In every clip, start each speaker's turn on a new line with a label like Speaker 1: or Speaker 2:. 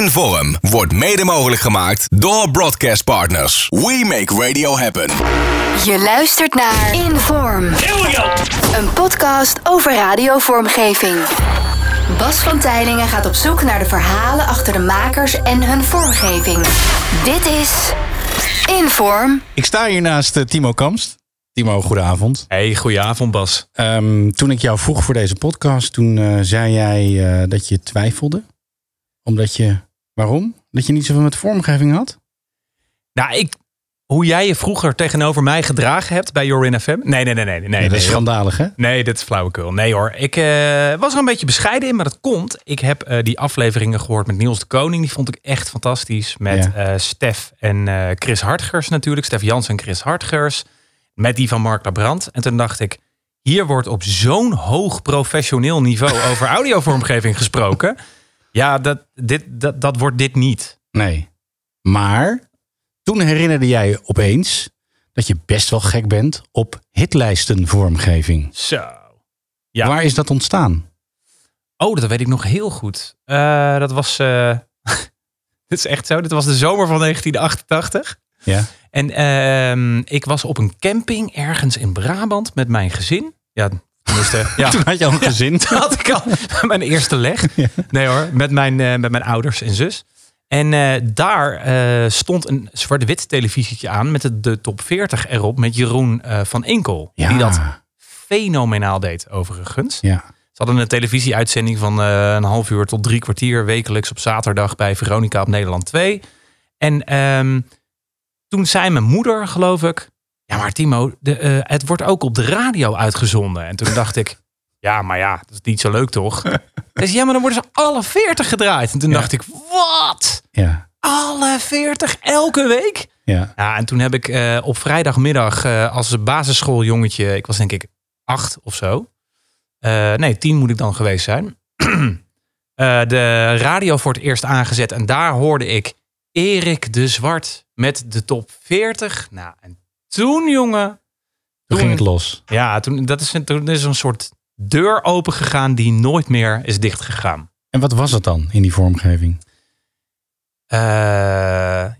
Speaker 1: Inform wordt mede mogelijk gemaakt door broadcastpartners. We make radio happen.
Speaker 2: Je luistert naar Inform. Een podcast over radiovormgeving. Bas van Tijlingen gaat op zoek naar de verhalen achter de makers en hun vormgeving. Dit is Inform.
Speaker 3: Ik sta hier naast eh, Timo Kamst. Timo, goedenavond.
Speaker 4: Hey, goedenavond Bas.
Speaker 3: Ehm, toen ik jou vroeg voor deze podcast, toen eh, zei jij eh, dat je twijfelde. Omdat je, waarom? Dat je niet zoveel met vormgeving had?
Speaker 4: Nou, ik, hoe jij je vroeger tegenover mij gedragen hebt bij Jorin FM. Nee, nee, nee, nee. nee,
Speaker 3: Ja,
Speaker 4: nee,
Speaker 3: dat is
Speaker 4: joh.
Speaker 3: schandalig, hè?
Speaker 4: nee, dit is flauwekul. Nee hoor, ik eh, was er een beetje bescheiden in, maar dat komt. Ik heb eh, die afleveringen gehoord met Niels de Koning. Die vond ik echt fantastisch. Met
Speaker 3: Ja.
Speaker 4: eh Stef en eh, Chris Hartgers natuurlijk. Stef Jans en Chris Hartgers. Met die van Mark Labrand. En toen dacht ik, hier wordt op zo'n hoog professioneel niveau over audiovormgeving gesproken. Ja, dat, dit, dat, dat wordt dit niet.
Speaker 3: Nee. Maar toen herinnerde jij je opeens dat je best wel gek bent op hitlijsten vormgeving.
Speaker 4: Zo. Ja.
Speaker 3: Waar is dat ontstaan?
Speaker 4: Oh, dat weet ik nog heel goed. Eh, dat was. eh, dit is echt zo. Dit was de zomer van 1988.
Speaker 3: Ja.
Speaker 4: En ehm, ik was op een camping ergens in Brabant met mijn gezin. Ja, tenminste. ja.
Speaker 3: Toen had je al een gezin.
Speaker 4: Toen had ik al mijn eerste leg. Nee hoor, met mijn, eh, met mijn ouders en zus. En eh, daar eh, stond een zwart-wit televisietje aan met de, de top 40 erop met Jeroen eh, van Enkel.
Speaker 3: Ja.
Speaker 4: Die dat fenomenaal deed overigens.
Speaker 3: Ja.
Speaker 4: Ze hadden een televisieuitzending van eh, een half uur tot drie kwartier wekelijks op zaterdag bij Veronica op Nederland 2. En ehm, toen zei mijn moeder, geloof ik, ja maar Timo, de, eh, het wordt ook op de radio uitgezonden. En toen dacht ik, ja maar ja, dat is niet zo leuk toch? Ze zei, ja maar dan worden ze alle 40 gedraaid. En toen
Speaker 3: Ja.
Speaker 4: dacht ik, wat?
Speaker 3: Ja.
Speaker 4: Alle 40 elke week?
Speaker 3: Ja.
Speaker 4: Ja, en toen heb ik eh, op vrijdagmiddag eh, als basisschooljongetje, ik was denk ik acht of zo. Eh, nee, tien moet ik dan geweest zijn. Eh, de radio voor het eerst aangezet en daar hoorde ik Erik de Zwart met de top 40. Nou, en toen jongen,
Speaker 3: Toen ging het los.
Speaker 4: ja, toen, dat is, een- toen is er een soort deur open gegaan die nooit meer is dichtgegaan.
Speaker 3: En wat was het dan in die vormgeving?
Speaker 4: Eh,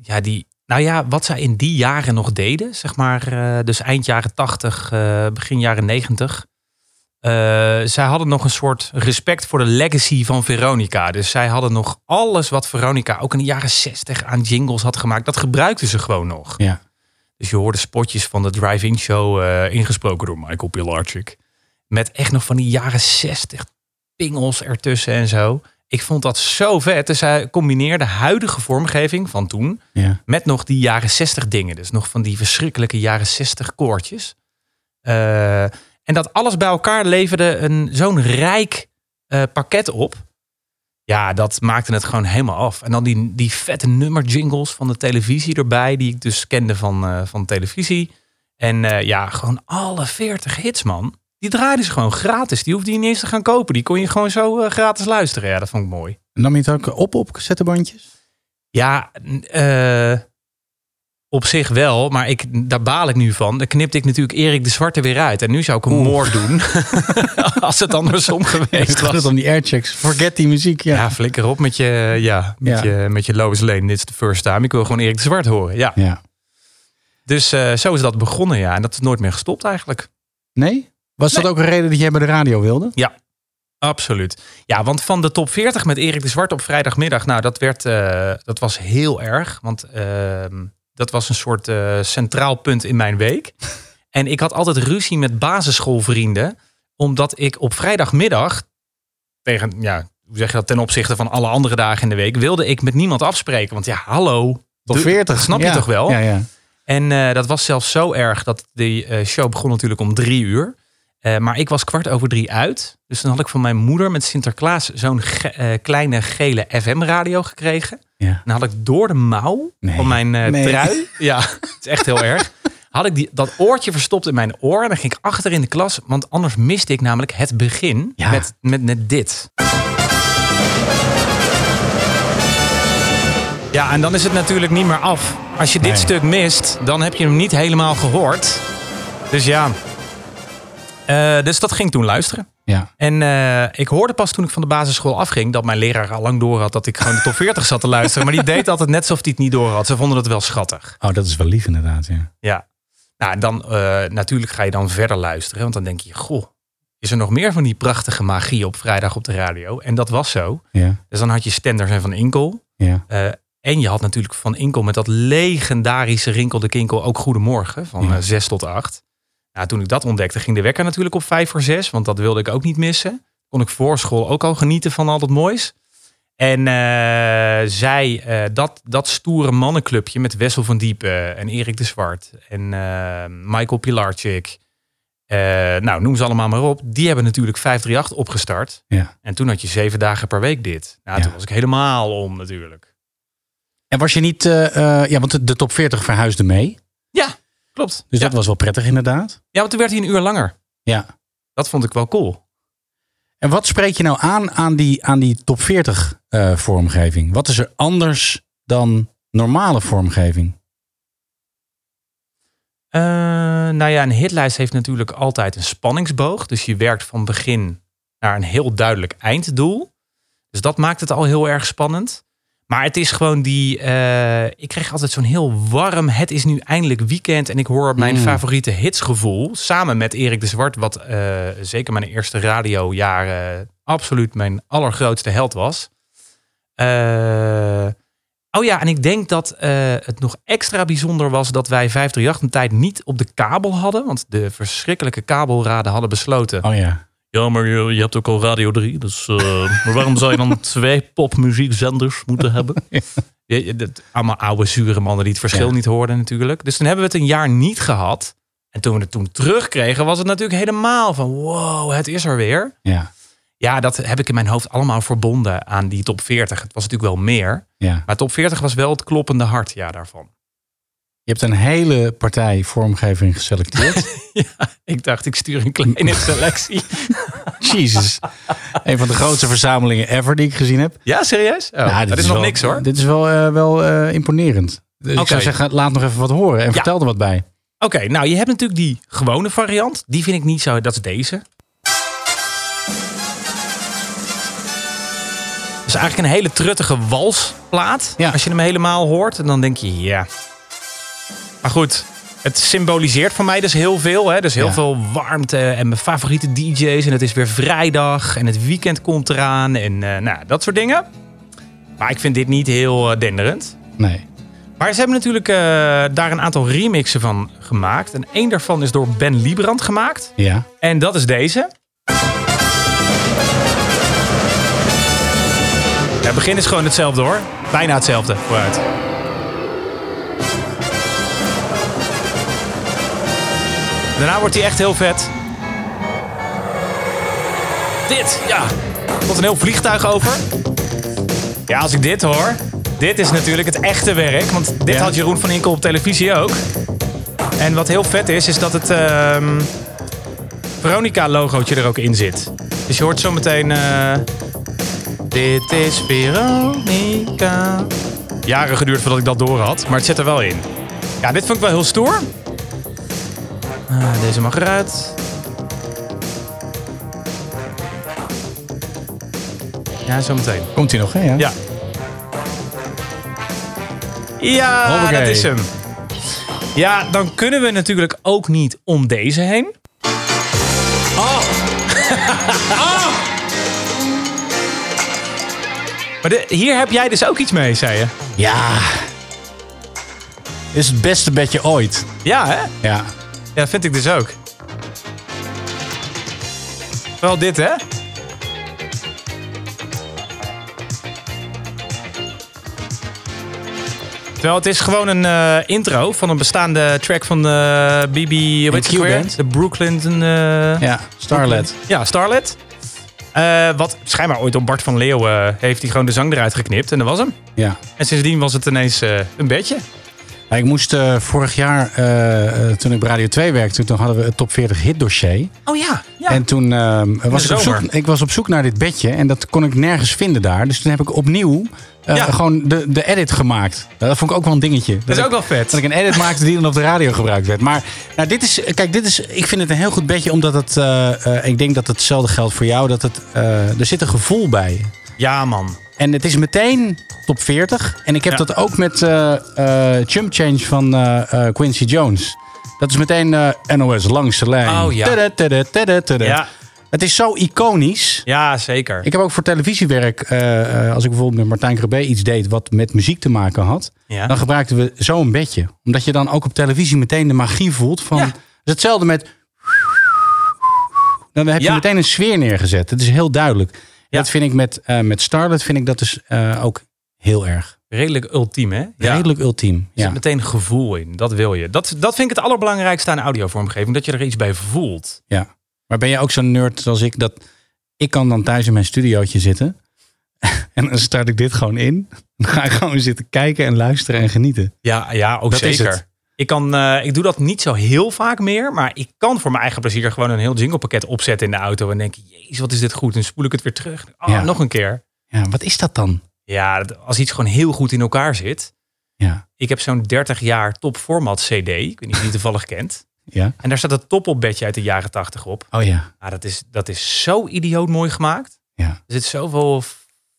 Speaker 4: ja, die, nou ja, wat zij in die jaren nog deden, zeg maar, eh, dus eind jaren 80, eh, begin jaren 90. eh, zij hadden nog een soort respect voor de legacy van Veronica. Dus zij hadden nog alles wat Veronica ook in de jaren 60 aan jingles had gemaakt. Dat gebruikten ze gewoon nog.
Speaker 3: Ja.
Speaker 4: Dus je hoorde spotjes van de drive-in show eh, ingesproken door Michael Pilarczyk. Met echt nog van die jaren 60 pingels ertussen en zo. Ik vond dat zo vet. Dus hij combineerde huidige vormgeving van toen
Speaker 3: Ja.
Speaker 4: met nog die jaren 60 dingen. Dus nog van die verschrikkelijke jaren 60 koortjes. Eh, en dat alles bij elkaar leverde een, zo'n rijk eh, pakket op. Ja, dat maakte het gewoon helemaal af. En dan die, die vette nummerjingles van de televisie erbij, die ik dus kende van, eh, van televisie. En eh, ja, gewoon alle 40 hits, man. Die draaiden ze gewoon gratis. Die hoefde je niet eens te gaan kopen. Die kon je gewoon zo eh, gratis luisteren. Ja, dat vond ik mooi.
Speaker 3: En nam je het ook op op cassettebandjes?
Speaker 4: Ja, n- eh, op zich wel, maar ik, daar baal ik nu van. Dan knipte ik natuurlijk Erik de Zwarte weer uit. En nu zou ik een moord doen. Als het andersom geweest
Speaker 3: Het gaat het
Speaker 4: was.
Speaker 3: om die airchecks. Forget die muziek, ja.
Speaker 4: Ja, flikker op met je, ja, met
Speaker 3: Ja.
Speaker 4: je, met je Lois Lane. Dit is de first time. Ik wil gewoon Erik de Zwart horen. Ja.
Speaker 3: Ja.
Speaker 4: Dus eh, zo is dat begonnen, ja. En dat is nooit meer gestopt eigenlijk.
Speaker 3: Nee? Was dat ook een reden dat jij bij de radio wilde?
Speaker 4: Absoluut. Ja, want van de top 40 met Erik de Zwart op vrijdagmiddag, nou, dat, werd, eh, dat was heel erg. Want ehm, dat was een soort eh, centraal punt in mijn week. En ik had altijd ruzie met basisschoolvrienden, omdat ik op vrijdagmiddag, tegen, ja, hoe zeg je dat ten opzichte van alle andere dagen in de week, wilde ik met niemand afspreken. Want ja, hallo.
Speaker 3: Top
Speaker 4: de-
Speaker 3: 40.
Speaker 4: snap je
Speaker 3: ja.
Speaker 4: toch wel?
Speaker 3: Ja, ja.
Speaker 4: En eh, dat was zelfs zo erg dat die eh, show begon natuurlijk om drie uur. Eh, maar ik was kwart over drie uit. Dus dan had ik van mijn moeder met Sinterklaas zo'n ge- eh, kleine gele FM-radio gekregen.
Speaker 3: Ja.
Speaker 4: En dan had ik door de mouw
Speaker 3: Nee.
Speaker 4: van mijn eh,
Speaker 3: Nee.
Speaker 4: trui. Ja, het is echt heel erg. Had ik die, dat oortje verstopt in mijn oor. En dan ging ik achter in de klas. Want anders miste ik namelijk het begin
Speaker 3: Ja.
Speaker 4: met, met, met dit. Ja, en dan is het natuurlijk niet meer af. Als je dit
Speaker 3: Nee.
Speaker 4: stuk mist, dan heb je hem niet helemaal gehoord. Dus ja. Eh, dus dat ging ik toen luisteren.
Speaker 3: Ja.
Speaker 4: En eh, ik hoorde pas toen ik van de basisschool afging dat mijn leraar al lang door had dat ik gewoon de top 40 zat te luisteren. Maar die deed altijd net alsof hij het niet door had. Ze vonden het wel schattig.
Speaker 3: Oh, dat is wel lief inderdaad, ja.
Speaker 4: Ja. Nou, en dan eh, natuurlijk ga je dan verder luisteren. Want dan denk je, goh, is er nog meer van die prachtige magie op vrijdag op de radio? En dat was zo.
Speaker 3: Ja,
Speaker 4: Dus dan had je Stenders en Van Inkel.
Speaker 3: ja.
Speaker 4: Eh, en je had natuurlijk Van Inkel met dat legendarische Rinkel de Kinkel ook Goedemorgen van
Speaker 3: Ja.
Speaker 4: eh, 6 tot 8. Nou, toen ik dat ontdekte, ging de wekker natuurlijk op 5 voor 6, want dat wilde ik ook niet missen. Kon ik voor school ook al genieten van al dat moois. En eh, zij, eh, dat, dat stoere mannenclubje met Wessel van Diepen eh, en Erik de Zwart en eh, Michael Pilarczyk. eh, nou, noem ze allemaal maar op. Die hebben natuurlijk 538 opgestart.
Speaker 3: ja.
Speaker 4: En toen had je zeven dagen per week dit. Nou,
Speaker 3: Ja.
Speaker 4: toen was ik helemaal om natuurlijk.
Speaker 3: En was je niet... eh, eh, ja, want de, de top 40 verhuisde mee.
Speaker 4: Ja, klopt.
Speaker 3: Dus
Speaker 4: ja.
Speaker 3: dat was wel prettig inderdaad.
Speaker 4: ja, want toen werd hij een uur langer.
Speaker 3: Ja.
Speaker 4: Dat vond ik wel cool.
Speaker 3: En wat spreek je nou aan aan die, aan die top 40 eh, vormgeving? Wat is er anders dan normale vormgeving?
Speaker 4: Eh, nou ja, een hitlijst heeft natuurlijk altijd een spanningsboog. Dus je werkt van begin naar een heel duidelijk einddoel. Dus dat maakt het al heel erg spannend. Maar het is gewoon die... eh, ik kreeg altijd zo'n heel warm... Het is nu eindelijk weekend en ik hoor mijn
Speaker 3: Mm.
Speaker 4: favoriete hitsgevoel. Samen met Erik de Zwart, wat eh, zeker mijn eerste radiojaren... absoluut mijn allergrootste held was. Eh, oh ja, en ik denk dat eh, het nog extra bijzonder was... dat wij 538 een tijd niet op de kabel hadden. Want de verschrikkelijke kabelraden hadden besloten...
Speaker 3: Oh ja.
Speaker 5: Ja, maar je, je hebt ook al Radio 3, dus... eh, maar waarom zou je dan twee popmuziekzenders moeten hebben?
Speaker 4: Ja, ja, dat- allemaal oude zure mannen die het verschil niet hoorden natuurlijk. Dus toen hebben we het een jaar niet gehad. En toen we het toen terugkregen was het natuurlijk helemaal van wow, het is er weer.
Speaker 3: Ja.
Speaker 4: Ja, dat heb ik in mijn hoofd allemaal verbonden aan die top 40. Het was natuurlijk wel meer.
Speaker 3: Ja.
Speaker 4: Maar top 40 was wel het kloppende hart ja, daarvan.
Speaker 3: Je hebt een hele partij vormgeving geselecteerd.
Speaker 4: Ik dacht, ik stuur een kleine selectie.
Speaker 3: Jezus. Een van de grootste verzamelingen ever die ik gezien heb.
Speaker 4: Ja, serieus? Oh,
Speaker 3: Nou,
Speaker 4: dat is, nog
Speaker 3: wel-
Speaker 4: niks hoor. Oké,
Speaker 3: Dit is wel, eh, wel eh, imponerend. Dus Ik
Speaker 4: Oké.
Speaker 3: zou zeggen, laat nog even wat horen en
Speaker 4: Ja.
Speaker 3: vertel er wat bij.
Speaker 4: nou je hebt natuurlijk die gewone variant. Die vind ik niet zo, dat is deze. Het is eigenlijk een hele truttige walsplaat.
Speaker 3: Ja.
Speaker 4: Als je hem helemaal hoort, en dan denk je, ja. Maar goed, het symboliseert voor mij dus heel veel. Hè? Dus heel
Speaker 3: Ja.
Speaker 4: veel warmte en mijn favoriete DJ's. En het is weer vrijdag en het weekend komt eraan. En eh, nou, dat soort dingen. Maar ik vind dit niet heel eh, denderend.
Speaker 3: Nee.
Speaker 4: Maar ze hebben natuurlijk eh, daar een aantal remixen van gemaakt. En één daarvan is door Ben Liebrand gemaakt.
Speaker 3: Ja.
Speaker 4: En dat is deze. Ja, het begin is gewoon hetzelfde hoor. Bijna hetzelfde. Vooruit. Daarna wordt hij echt heel vet. Dit, ja. Er komt een heel vliegtuig over. Ja, als ik dit hoor. Dit is natuurlijk het echte werk. Want dit
Speaker 3: Ja.
Speaker 4: had Jeroen van Inkel op televisie ook. En wat heel vet is, is dat het ehm Veronica-logootje er ook in zit. Dus je hoort zometeen... eh, dit is Veronica. Jaren geduurd voordat ik dat door had, maar het zit er wel in. Ja, dit vond ik wel heel stoer. Ah, deze mag eruit. Ja, zometeen.
Speaker 3: Komt hij nog, hè?
Speaker 4: Ja. Ja,
Speaker 3: Hoppakee.
Speaker 4: dat is hem. Ja, dan kunnen we natuurlijk ook niet om deze heen. Oh! Oh! Maar de- hier heb jij dus ook iets mee, zei je.
Speaker 3: Ja. Is het beste bedje ooit.
Speaker 4: Ja, hè?
Speaker 3: Ja.
Speaker 4: Ja, vind ik dus ook. Wel dit, hè? Terwijl het is gewoon een eh, intro van een bestaande track van eh BB... Hoe heet het ook weer?
Speaker 3: Q-band.
Speaker 4: De Brooklyn... eh,
Speaker 3: Ja. Starlet.
Speaker 4: ja, Starlet. Eh, wat schijnbaar ooit op Bart van eh, Leeuwen heeft hij gewoon de zang eruit geknipt. En dat was hem.
Speaker 3: Ja.
Speaker 4: En sindsdien was het ineens eh, een bedje.
Speaker 3: Ja, Ja, ik moest eh, vorig jaar, eh, eh, toen ik bij Radio 2 werkte, toen hadden we het top 40 hit dossier.
Speaker 4: Oh ja, ja.
Speaker 3: En toen ehm, was
Speaker 4: de
Speaker 3: ik op,
Speaker 4: zomer.
Speaker 3: zoek, ik was op zoek naar dit bedje en dat kon ik nergens vinden daar. Dus toen heb ik opnieuw eh,
Speaker 4: Ja.
Speaker 3: gewoon de, de edit gemaakt. Nou, Dat vond ik ook wel een dingetje.
Speaker 4: dat is
Speaker 3: ik-
Speaker 4: ook wel vet.
Speaker 3: dat ik een edit maakte die dan op de radio gebruikt werd. Maar nou, dit is, kijk, dit is, ik vind het een heel goed bedje, omdat het, eh, eh, ik denk dat hetzelfde geldt voor jou. Dat het, eh, er zit een gevoel bij.
Speaker 4: Ja, man.
Speaker 3: En het is meteen top 40. En ik heb
Speaker 5: Ja.
Speaker 3: dat ook met eh, eh, Chump Change van eh, eh, Quincy Jones. Dat is meteen eh, NOS langs de lijn.
Speaker 4: Oh, ja.
Speaker 3: Tada, tada, tada, tada.
Speaker 4: Ja,
Speaker 3: Het is zo iconisch.
Speaker 4: ja zeker.
Speaker 3: Ik heb ook voor televisiewerk, eh, eh, als ik bijvoorbeeld met Martijn Krabbe iets deed wat met muziek te maken had,
Speaker 4: Ja.
Speaker 3: dan gebruikten we zo'n bedje. Omdat je dan ook op televisie meteen de magie voelt van.
Speaker 4: Ja.
Speaker 3: Het is hetzelfde met. Dan heb je
Speaker 4: Ja.
Speaker 3: meteen een sfeer neergezet. Het is heel duidelijk.
Speaker 4: Ja.
Speaker 3: Dat vind ik met, eh met Starlet vind ik dat dus eh, ook heel erg.
Speaker 4: Redelijk ultiem, hè? Ja.
Speaker 3: Redelijk ultiem.
Speaker 4: Er
Speaker 3: Ja.
Speaker 4: zit meteen gevoel in. Dat wil je. Dat, dat vind ik het allerbelangrijkste aan audiovormgeving. Dat je er iets bij voelt.
Speaker 3: ja. Maar ben je ook zo'n nerd zoals ik? Dat ik kan dan thuis in mijn studiootje zitten. En dan start ik dit gewoon in. Dan ga ik gewoon zitten kijken en luisteren en genieten.
Speaker 4: Ja, ja ook
Speaker 3: Dat is
Speaker 4: zeker.
Speaker 3: het.
Speaker 4: Ik, kan, eh, ik doe dat niet zo heel vaak meer. Maar ik kan voor mijn eigen plezier gewoon een heel jinglepakket opzetten in de auto. En denk, jezus, wat is dit goed. En dan spoel ik het weer terug. Oh,
Speaker 3: Ja.
Speaker 4: nog een keer.
Speaker 3: Ja, wat is dat dan?
Speaker 4: Ja, dat- als iets gewoon heel goed in elkaar zit.
Speaker 3: Ja,
Speaker 4: Ik heb zo'n 30 jaar topformat CD. Ik weet niet of je die toevallig kent.
Speaker 3: ja.
Speaker 4: En daar staat het topopbedje uit de jaren 80 op.
Speaker 3: Oh ja,
Speaker 4: Ah, dat, is, dat is zo idioot mooi gemaakt.
Speaker 3: ja.
Speaker 4: Er zit zoveel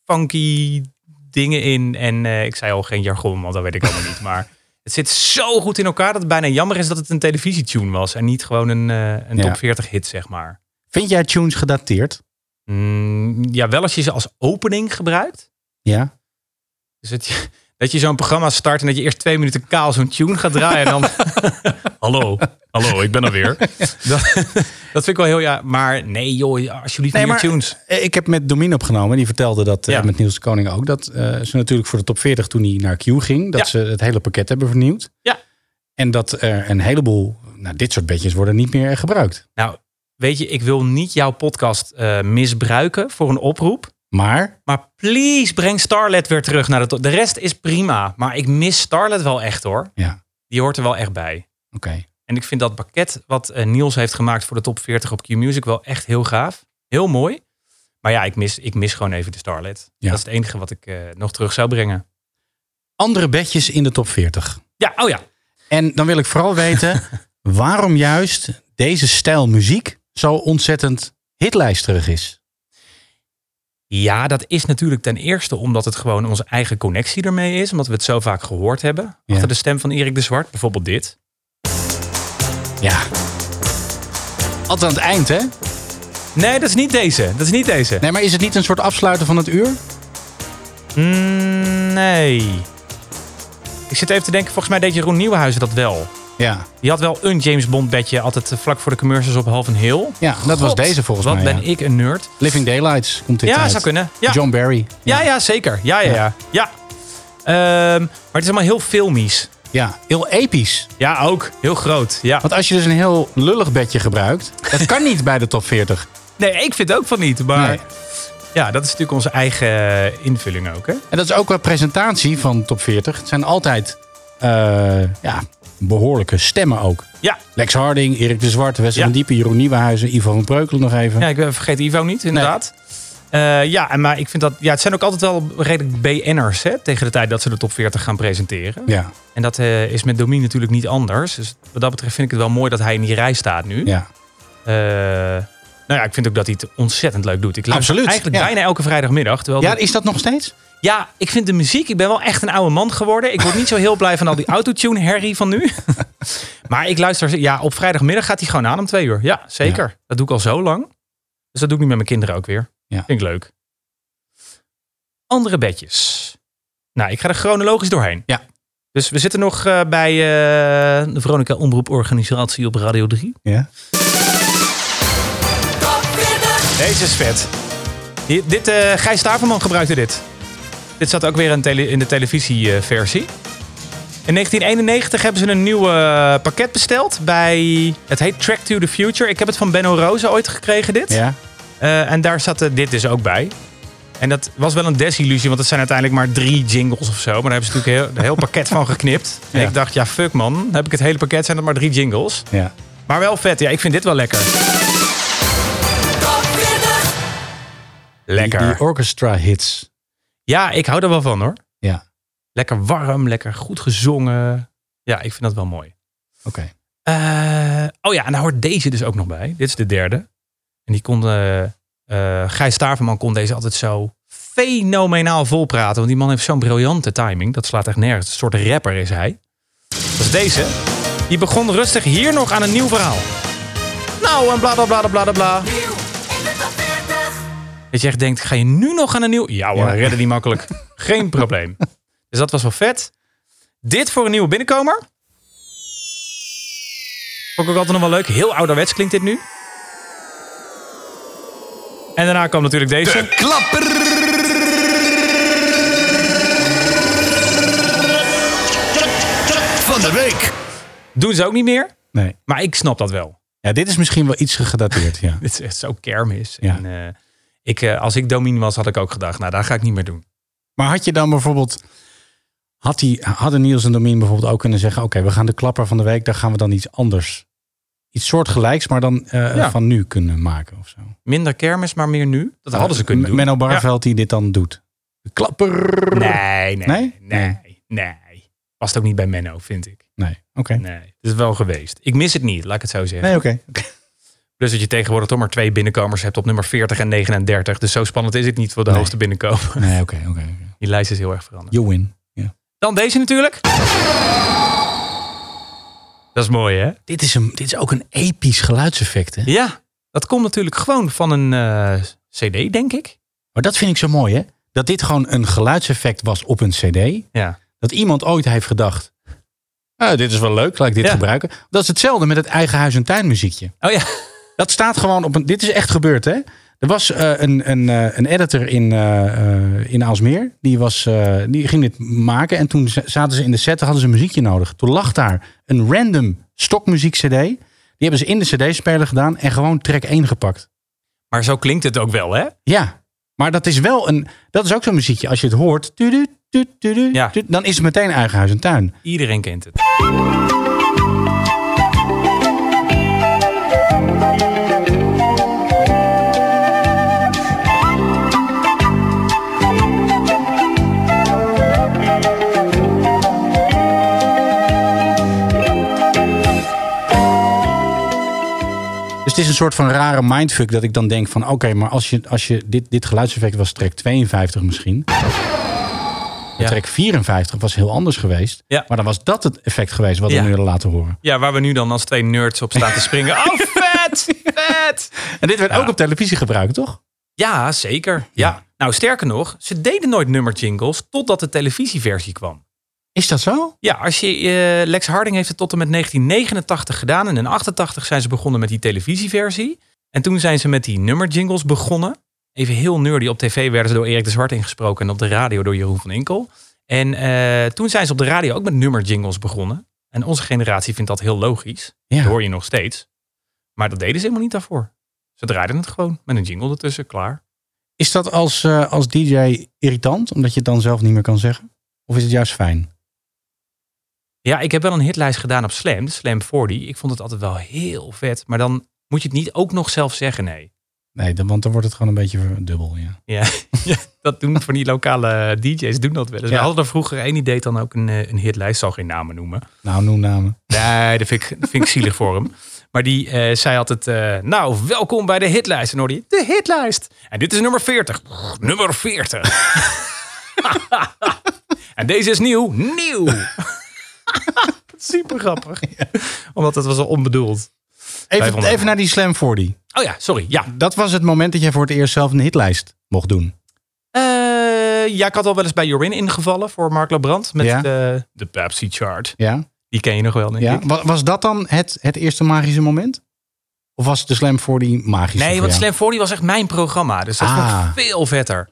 Speaker 4: funky dingen in. En eh, ik zei al geen jargon, want dat weet ik allemaal niet. Maar het zit zo goed in elkaar dat het bijna jammer is dat het een televisietune was. En niet gewoon een, eh, een
Speaker 3: Ja.
Speaker 4: top 40 hit, zeg maar.
Speaker 3: Vind jij tunes gedateerd?
Speaker 4: Mm, ja, wel als je ze als opening gebruikt.
Speaker 3: Ja.
Speaker 4: Dus dat je, dat je zo'n programma start en dat je eerst twee minuten kaal zo'n tune gaat draaien. En dan,
Speaker 5: Hallo, hallo, ik ben er weer.
Speaker 4: dat, dat vind ik wel heel... Ja, maar nee joh, ja, alsjeblieft
Speaker 3: Nee,
Speaker 4: meer
Speaker 3: maar- eh,
Speaker 4: tunes.
Speaker 3: Ik heb met Domin opgenomen. Die vertelde dat eh,
Speaker 4: Ja.
Speaker 3: met Niels de Koning ook. Dat eh, ze natuurlijk voor de top 40 toen hij naar Q ging. Dat
Speaker 4: Ja.
Speaker 3: ze het hele pakket hebben vernieuwd.
Speaker 4: Ja.
Speaker 3: En dat er een heleboel, nou dit soort bedjes worden niet meer gebruikt.
Speaker 4: Nou, weet je, ik wil niet jouw podcast eh, misbruiken voor een oproep.
Speaker 3: Maar
Speaker 4: Maar please breng Starlet weer terug naar de top. De rest is prima. Maar ik mis Starlet wel echt hoor.
Speaker 3: ja,
Speaker 4: Die hoort er wel echt bij.
Speaker 3: oké.
Speaker 4: En ik vind dat pakket wat eh, Niels heeft gemaakt voor de top 40 op Q-Music wel echt heel gaaf. Heel mooi. Maar ja, ik mis, ik mis gewoon even de Starlet.
Speaker 3: Ja.
Speaker 4: Dat is het enige wat ik eh, nog terug zou brengen.
Speaker 3: Andere bedjes in de top 40.
Speaker 4: Ja, oh ja.
Speaker 3: En dan wil ik vooral weten waarom juist deze stijl muziek zo ontzettend hitlijsterig is.
Speaker 4: Ja, dat is natuurlijk ten eerste omdat het gewoon onze eigen connectie ermee is. Omdat we het zo vaak gehoord hebben.
Speaker 3: Ja.
Speaker 4: Achter de stem van Erik de Zwart, bijvoorbeeld dit.
Speaker 3: Ja. Altijd aan het eind, hè?
Speaker 4: Nee, dat is niet deze. Dat is niet deze.
Speaker 3: Nee, maar is het niet een soort afsluiten van het uur?
Speaker 4: Mm, Nee. Ik zit even te denken, volgens mij deed Jeroen Nieuwenhuizen dat wel.
Speaker 3: Ja,
Speaker 4: Die had wel een James Bond bedje, altijd eh, vlak voor de commercials op Half een Hill.
Speaker 3: ja dat was deze volgens
Speaker 4: Wat
Speaker 3: mij.
Speaker 4: ben
Speaker 3: ja.
Speaker 4: ik een nerd.
Speaker 3: Living Daylights komt dit
Speaker 4: Ja,
Speaker 3: uit.
Speaker 4: zou kunnen. Ja.
Speaker 3: John Barry.
Speaker 4: Ja, ja, zeker. Ja, ja, ja. ja. Ehm, maar het is allemaal heel filmisch.
Speaker 3: Ja, heel episch.
Speaker 4: Ja, ook. Heel groot. Ja.
Speaker 3: Want als je dus een heel lullig bedje gebruikt, dat kan niet bij de top 40.
Speaker 4: Nee, ik vind het ook van niet. Maar
Speaker 3: Nee.
Speaker 4: ja, dat is natuurlijk onze eigen eh, invulling ook. Hè?
Speaker 3: En dat is ook wel presentatie van top 40. Het zijn altijd eh, ja, behoorlijke stemmen ook.
Speaker 4: Ja.
Speaker 3: Lex Harding, Erik de Zwart, Wessel
Speaker 4: Ja.
Speaker 3: van Diepen, Jeroen Nieuwenhuizen, Ivo van Breukelen nog even.
Speaker 4: Ja, ik ben- vergeet Ivo niet, inderdaad. Eh, ja, en maar ik vind dat. Ja, het zijn ook altijd wel redelijk BN'ers hè, tegen de tijd dat ze de top 40 gaan presenteren.
Speaker 3: ja.
Speaker 4: En dat eh, is met Domien natuurlijk niet anders. Dus wat dat betreft vind ik het wel mooi dat hij in die rij staat nu.
Speaker 3: ja.
Speaker 4: Eh, nou ja, ik vind ook dat hij het ontzettend leuk doet. Ik luister
Speaker 3: Absoluut,
Speaker 4: eigenlijk
Speaker 3: ja.
Speaker 4: bijna elke vrijdagmiddag. Terwijl
Speaker 3: Ja,
Speaker 4: ja,
Speaker 3: is dat nog steeds?
Speaker 4: ja, ik vind de muziek. Ik ben wel echt een oude man geworden. Ik word niet zo heel blij van al die autotune herrie van nu. maar ik luister. Ja, op vrijdagmiddag gaat hij gewoon aan om twee uur. Ja, zeker. Dat doe ik al zo lang. Dus dat doe ik nu met mijn kinderen ook weer.
Speaker 3: Ja.
Speaker 4: Vind ik leuk. Andere bedjes. Nou, ik ga er chronologisch doorheen.
Speaker 3: Ja.
Speaker 4: Dus we zitten nog eh, bij eh, de Veronica Omroeporganisatie op Radio 3.
Speaker 3: Ja.
Speaker 4: Deze is vet. Di- dit, eh Gijs Staverman gebruikte dit. Dit zat ook weer in, tele- in de televisieversie. in 1991 hebben ze een nieuw eh, pakket besteld bij... Het heet Track to the Future. Ik heb het van Benno Roze ooit gekregen, dit.
Speaker 3: Ja.
Speaker 4: Eh, en daar zat eh, dit dus ook bij. En dat was wel een desillusie, want het zijn uiteindelijk maar drie jingles of zo. Maar daar hebben ze natuurlijk heel, een heel pakket van geknipt. En
Speaker 3: Ja.
Speaker 4: ik dacht, ja, fuck man. Dan heb ik het hele pakket, zijn het maar drie jingles.
Speaker 3: Ja.
Speaker 4: Maar wel vet, ja, ik vind dit wel lekker.
Speaker 3: Die, die
Speaker 4: Lekker.
Speaker 3: orchestra hits.
Speaker 4: Ja, ik hou er wel van hoor.
Speaker 3: Ja,
Speaker 4: Lekker warm, lekker goed gezongen. Ja, ik vind dat wel mooi.
Speaker 3: oké.
Speaker 4: Eh, oh ja, en daar hoort deze dus ook nog bij. Dit is de derde. En die kon, eh eh, Gijs Staverman kon deze altijd zo fenomenaal volpraten. Want die man heeft zo'n briljante timing. Dat slaat echt nergens. Een soort rapper is hij. Dat is deze. Die begon rustig hier nog aan een nieuw verhaal. Nou, en bla bla bla bla bla bla. Dat je echt denkt, ga je nu nog aan een nieuw... Ja hoor,
Speaker 3: Ja.
Speaker 4: redden die makkelijk. Geen probleem. Dus dat was wel vet. Dit voor een nieuwe binnenkomer. Vond ik ook altijd nog wel leuk. Heel ouderwets klinkt dit nu. En daarna kwam natuurlijk deze.
Speaker 1: Van de week.
Speaker 4: Doen ze ook niet meer.
Speaker 3: Nee.
Speaker 4: Maar ik snap dat wel.
Speaker 3: Ja, dit is misschien wel iets gedateerd, ja.
Speaker 4: Dit is echt zo kermis.
Speaker 3: Ja.
Speaker 4: En, eh, ik, eh, als ik domien was, had ik ook gedacht, nou, daar ga ik niet meer doen.
Speaker 3: Maar had je dan bijvoorbeeld... Had die, hadden Niels en Domien bijvoorbeeld ook kunnen zeggen... oké, we gaan de klapper van de week, daar gaan we dan iets anders... iets soortgelijks, maar dan eh,
Speaker 4: Ja.
Speaker 3: van nu kunnen maken of zo.
Speaker 4: Minder kermis, maar meer nu. Dat hadden ze kunnen
Speaker 3: M-
Speaker 4: doen.
Speaker 3: Menno Barveld die dit dan doet. De klapper!
Speaker 4: Nee, nee,
Speaker 3: Nee?
Speaker 4: nee, nee, Past ook niet bij Menno, vind ik.
Speaker 3: Nee, oké.
Speaker 4: Nee, het is wel geweest. Ik mis het niet, laat ik het zo zeggen.
Speaker 3: Nee, oké.
Speaker 4: Plus dat je tegenwoordig toch maar twee binnenkomers hebt op nummer 40 en 39. Dus zo spannend is het niet voor de
Speaker 3: Nee.
Speaker 4: hoogste binnenkomer.
Speaker 3: Nee, oké, oké. oké.
Speaker 4: Die lijst is heel erg veranderd.
Speaker 3: You win. Ja.
Speaker 4: Dan deze natuurlijk. Dat is mooi, hè?
Speaker 3: Dit, is een, dit is ook een episch geluidseffect, hè?
Speaker 4: Ja, dat komt natuurlijk gewoon van een eh, CD, denk ik.
Speaker 3: Maar dat vind ik zo mooi, hè? Dat dit gewoon een geluidseffect was op een cd.
Speaker 4: Ja.
Speaker 3: Dat iemand ooit heeft gedacht... "Ah, dit is wel leuk, laat ik dit
Speaker 4: Ja.
Speaker 3: gebruiken. Dat is hetzelfde met het eigen huis- en tuinmuziekje.
Speaker 4: Oh ja.
Speaker 3: Dat staat gewoon op een. Dit is echt gebeurd, hè? Er was eh, een, een, eh, een editor in, eh, eh, in Aalsmeer. Die, was, eh, die ging dit maken. En toen z- zaten ze in de set. Hadden ze een muziekje nodig. Toen lag daar een random stokmuziek-CD. Die hebben ze in de CD-speler gedaan. En gewoon track 1 gepakt.
Speaker 4: Maar zo klinkt het ook wel, hè?
Speaker 3: Ja, maar dat is wel een. Dat is ook zo'n muziekje. Als je het hoort. tudu, tudu, tudu,
Speaker 4: Ja.
Speaker 3: tudu, dan is het meteen eigen huis en tuin.
Speaker 4: Iedereen kent het.
Speaker 3: Dus het is een soort van rare mindfuck dat ik dan denk van... oké, maar als je, als je dit, dit geluidseffect was track 52 misschien...
Speaker 4: Ja.
Speaker 3: Track 54 was heel anders geweest.
Speaker 4: Ja.
Speaker 3: Maar dan was dat het effect geweest wat
Speaker 4: Ja.
Speaker 3: we nu hadden laten horen.
Speaker 4: Ja, waar we nu dan als twee nerds op staan te springen. Oh, vet! Vet!
Speaker 3: En dit werd
Speaker 4: Ja.
Speaker 3: ook op televisie gebruikt, toch?
Speaker 4: Ja, zeker. Ja. Nou, sterker nog, ze deden nooit nummerjingles totdat de televisieversie kwam.
Speaker 3: Is dat zo?
Speaker 4: Ja, als je, eh, Lex Harding heeft het tot en met 1989 gedaan. En in 88 zijn ze begonnen met die televisieversie. En toen zijn ze met die nummerjingles begonnen. Even heel nerdy. Op tv werden ze door Erik de Zwart ingesproken. En op de radio door Jeroen van Inkel. En eh, toen zijn ze op de radio ook met nummerjingles begonnen. En onze generatie vindt dat heel logisch.
Speaker 3: Ja.
Speaker 4: Dat hoor je nog steeds. Maar dat deden ze helemaal niet daarvoor. Ze draaiden het gewoon met een jingle ertussen, klaar.
Speaker 3: Is dat als, eh, als DJ irritant, omdat je het dan zelf niet meer kan zeggen? Of is het juist fijn?
Speaker 4: Ja, ik heb wel een hitlijst gedaan op Slam, de Slam 40. Ik vond het altijd wel heel vet. Maar dan moet je het niet ook nog zelf zeggen, nee.
Speaker 3: Nee, dan, want dan wordt het gewoon een beetje dubbel, ja.
Speaker 4: Ja, ja, dat doen van die lokale DJ's, doen dat wel eens.
Speaker 3: Ja.
Speaker 4: We hadden er vroeger één, die deed dan ook een, eh, een hitlijst. Zal geen namen noemen.
Speaker 3: Nou, noem namen.
Speaker 4: Nee, dat vind ik, dat vind ik zielig voor hem. Maar die eh, zei altijd, eh, nou, welkom bij de hitlijst. En hoorde je, de hitlijst. En dit is nummer 40. Brrr, nummer 40. en deze is nieuw. Nieuw. Super grappig. Omdat dat was al onbedoeld.
Speaker 3: Even,
Speaker 4: 500.
Speaker 3: even naar die Slam 40.
Speaker 4: Oh ja, sorry. Ja.
Speaker 3: Dat was het moment dat jij voor het eerst zelf een hitlijst mocht doen.
Speaker 4: Eh, ja, ik had al wel eens bij Jorin ingevallen voor Mark Labrand. Met
Speaker 3: Ja.
Speaker 4: de, de Pepsi chart.
Speaker 3: Ja?
Speaker 4: Die ken je nog wel, denk
Speaker 3: Ja,
Speaker 4: ik.
Speaker 3: wa- was dat dan het, het eerste magische moment? Of was de Slam 40 magisch?
Speaker 4: Nee,
Speaker 3: voor
Speaker 4: want
Speaker 3: jou?
Speaker 4: Slam 40 was echt mijn programma. Dus dat
Speaker 3: Ah.
Speaker 4: vond ik veel vetter.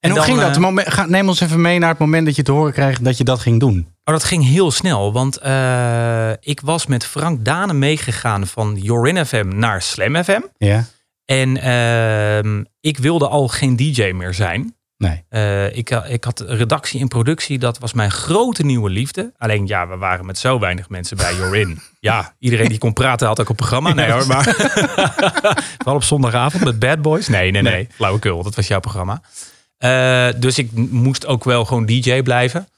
Speaker 3: En, hoe
Speaker 4: dan,
Speaker 3: ging
Speaker 4: eh,
Speaker 3: dat? Momen- ga- neem ons even mee naar het moment dat je te horen krijgt dat je dat ging doen.
Speaker 4: Oh, dat ging heel snel, want eh, ik was met Frank Danen meegegaan van Jorin FM naar Slam FM.
Speaker 3: Ja.
Speaker 4: En ehm, ik wilde al geen DJ meer zijn.
Speaker 3: Nee.
Speaker 4: Eh, ik, ha- ik had redactie en productie, dat was mijn grote nieuwe liefde. Alleen ja, we waren met zo weinig mensen bij You're In. Ja, iedereen die kon praten had ook een programma. Nee hoor, maar wel op zondagavond met Bad Boys. Nee, nee, nee, flauwekul, dat was jouw programma. Eh, dus ik m- moest ook wel gewoon DJ blijven.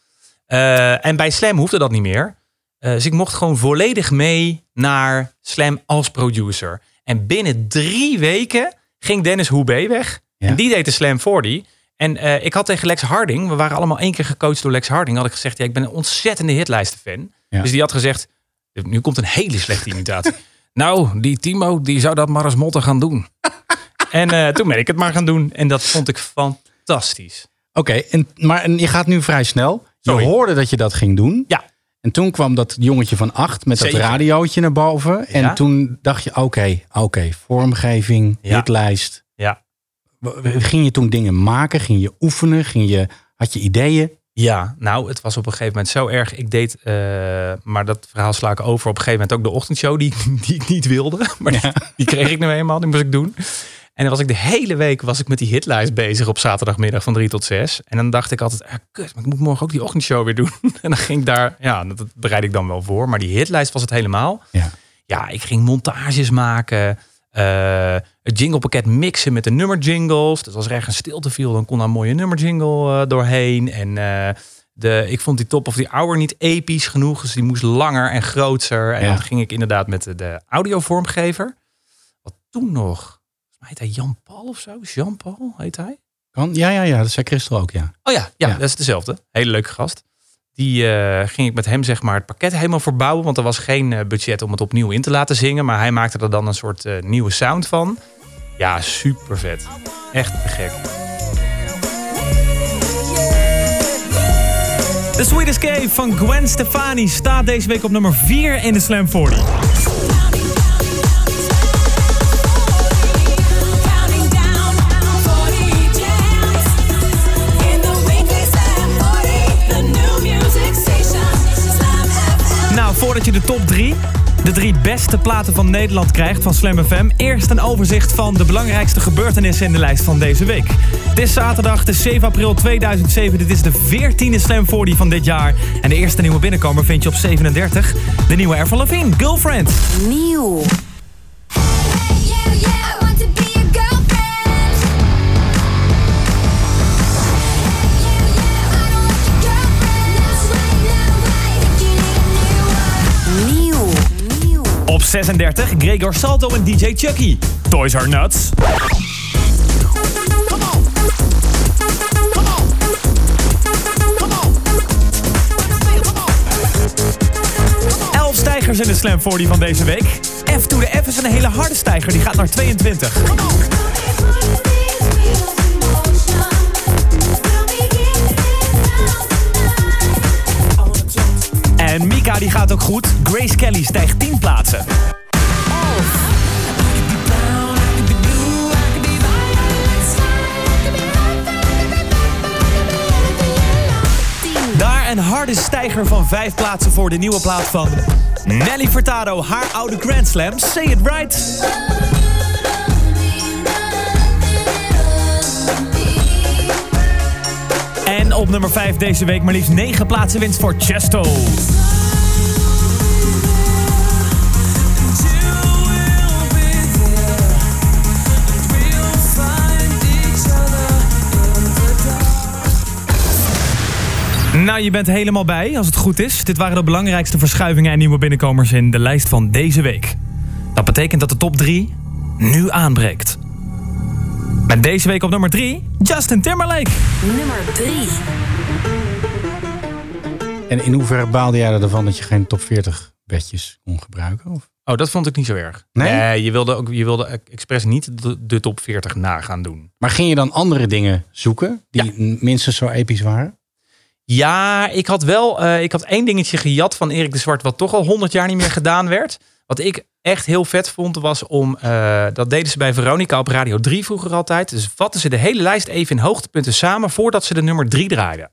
Speaker 4: Eh, en bij Slam hoefde dat niet meer. Eh, dus ik mocht gewoon volledig mee naar Slam als producer. En binnen drie weken ging Dennis Hoebe weg.
Speaker 3: Ja.
Speaker 4: En die deed de Slam 40. En eh, ik had tegen Lex Harding, we waren allemaal één keer gecoacht door Lex Harding, had ik gezegd, ja, ik ben een ontzettende hitlijstenfan.
Speaker 3: Ja.
Speaker 4: Dus die had gezegd, nu komt een hele slechte imitatie. nou, die Timo, die zou dat maar als motten gaan doen. en eh, toen ben ik het maar gaan doen. En dat vond ik fantastisch.
Speaker 3: Oké, en, maar en je gaat nu vrij snel.
Speaker 4: Sorry.
Speaker 3: Je hoorde dat je dat ging doen.
Speaker 4: Ja.
Speaker 3: En toen kwam dat jongetje van acht met
Speaker 4: Zeker.
Speaker 3: dat radiootje naar boven. En
Speaker 4: Ja.
Speaker 3: toen dacht je, oké, oké, vormgeving,
Speaker 4: Ja.
Speaker 3: hitlijst.
Speaker 4: Ja.
Speaker 3: W- Ging je toen dingen maken? Ging je oefenen? Ging je, had je ideeën?
Speaker 4: Ja, nou, het was op een gegeven moment zo erg. Ik deed, eh, maar dat verhaal sla ik over. Op een gegeven moment ook de ochtendshow die, ik- die ik niet wilde. Maar die, die kreeg ik nou eenmaal, die moest ik doen. En dan was ik de hele week was ik met die hitlijst bezig op zaterdagmiddag van 3 tot 6. En dan dacht ik altijd, ah, kut, maar ik moet morgen ook die ochtendshow weer doen. En dan ging ik daar, ja, dat, dat bereid ik dan wel voor. Maar die hitlijst was het helemaal.
Speaker 3: Ja.
Speaker 4: Ja, ik ging montages maken. eh, het jinglepakket mixen met de nummerjingles. Dus als er ergens stilte viel, dan kon daar een mooie nummerjingle eh, doorheen. En eh, de, ik vond die top of the hour niet episch genoeg. Dus die moest langer en groter. En
Speaker 3: Ja.
Speaker 4: dan ging ik inderdaad met de, de audiovormgever. Wat toen nog? Volgens mij heet hij Jan-Paul of zo. Jean-Paul heet hij.
Speaker 3: Kan? Ja, ja, ja, dat zei Christel ook, ja.
Speaker 4: Oh ja, ja,
Speaker 3: Ja.
Speaker 4: dat is dezelfde. Hele leuke gast. Die eh, ging ik met hem zeg maar het pakket helemaal verbouwen. Want er was geen eh, budget om het opnieuw in te laten zingen. Maar hij maakte er dan een soort eh, nieuwe sound van. Ja, super vet. Echt te gek.
Speaker 6: The Sweet Escape van Gwen Stefani staat deze week op nummer 4 in de Slam 40.
Speaker 7: Counting down 40 jams in the weekly slam 40, the new music station, Slam FM.
Speaker 6: Nou, voordat je de top 3, de drie beste platen van Nederland krijgt van Slam FM, eerst een overzicht van de belangrijkste gebeurtenissen in de lijst van deze week. Het is zaterdag, het is 7 april 2007. Dit is de 14e Slam 40 van dit jaar. En de eerste nieuwe binnenkomer vind je op 37. De nieuwe Avril Lavigne, Girlfriend.
Speaker 2: Nieuw.
Speaker 7: Hey, yeah, yeah, I want to be your girlfriend. Yeah, yeah, I don't like your girlfriend. That's right now I think you need a new one.
Speaker 2: Nieuw. Nieuw.
Speaker 6: Op 36, Gregor Salto en DJ Chucky. Toys are nuts.
Speaker 7: Come on, come on, come on, come on.
Speaker 6: 11 stijgers in de Slam 40 van deze week. F to the F is een hele harde stijger, die gaat naar 22. En Mika die gaat ook goed. Grace Kelly stijgt 10 plaatsen. Daar een harde stijger van 5 plaatsen voor de nieuwe plaat van Nelly Furtado, haar oude Grand Slam. Say it right. En op nummer 5 deze week maar liefst 9 plaatsen winst voor Chesto. Nou, je bent helemaal bij, als het goed is. Dit waren de belangrijkste verschuivingen en nieuwe binnenkomers in de lijst van deze week. Dat betekent dat de top 3 nu aanbreekt. Met deze week op nummer 3, Justin Timberlake.
Speaker 2: Nummer 3.
Speaker 3: En in hoeverre baalde jij ervan dat je geen top 40 bedjes kon gebruiken? Of?
Speaker 4: Oh, dat vond ik niet zo erg.
Speaker 3: Nee?
Speaker 4: je wilde, ook, je wilde ex- expres niet de, de top 40 na gaan doen.
Speaker 3: Maar ging je dan andere dingen zoeken die m- minstens zo episch waren?
Speaker 4: Ja, ik had wel. eh, ik had één dingetje gejat van Erik de Zwart, wat toch al 100 jaar niet meer gedaan werd. Wat ik echt heel vet vond, was om. eh, dat deden ze bij Veronica op Radio 3 vroeger altijd. Dus vatten ze de hele lijst even in hoogtepunten samen voordat ze de nummer 3 draaiden.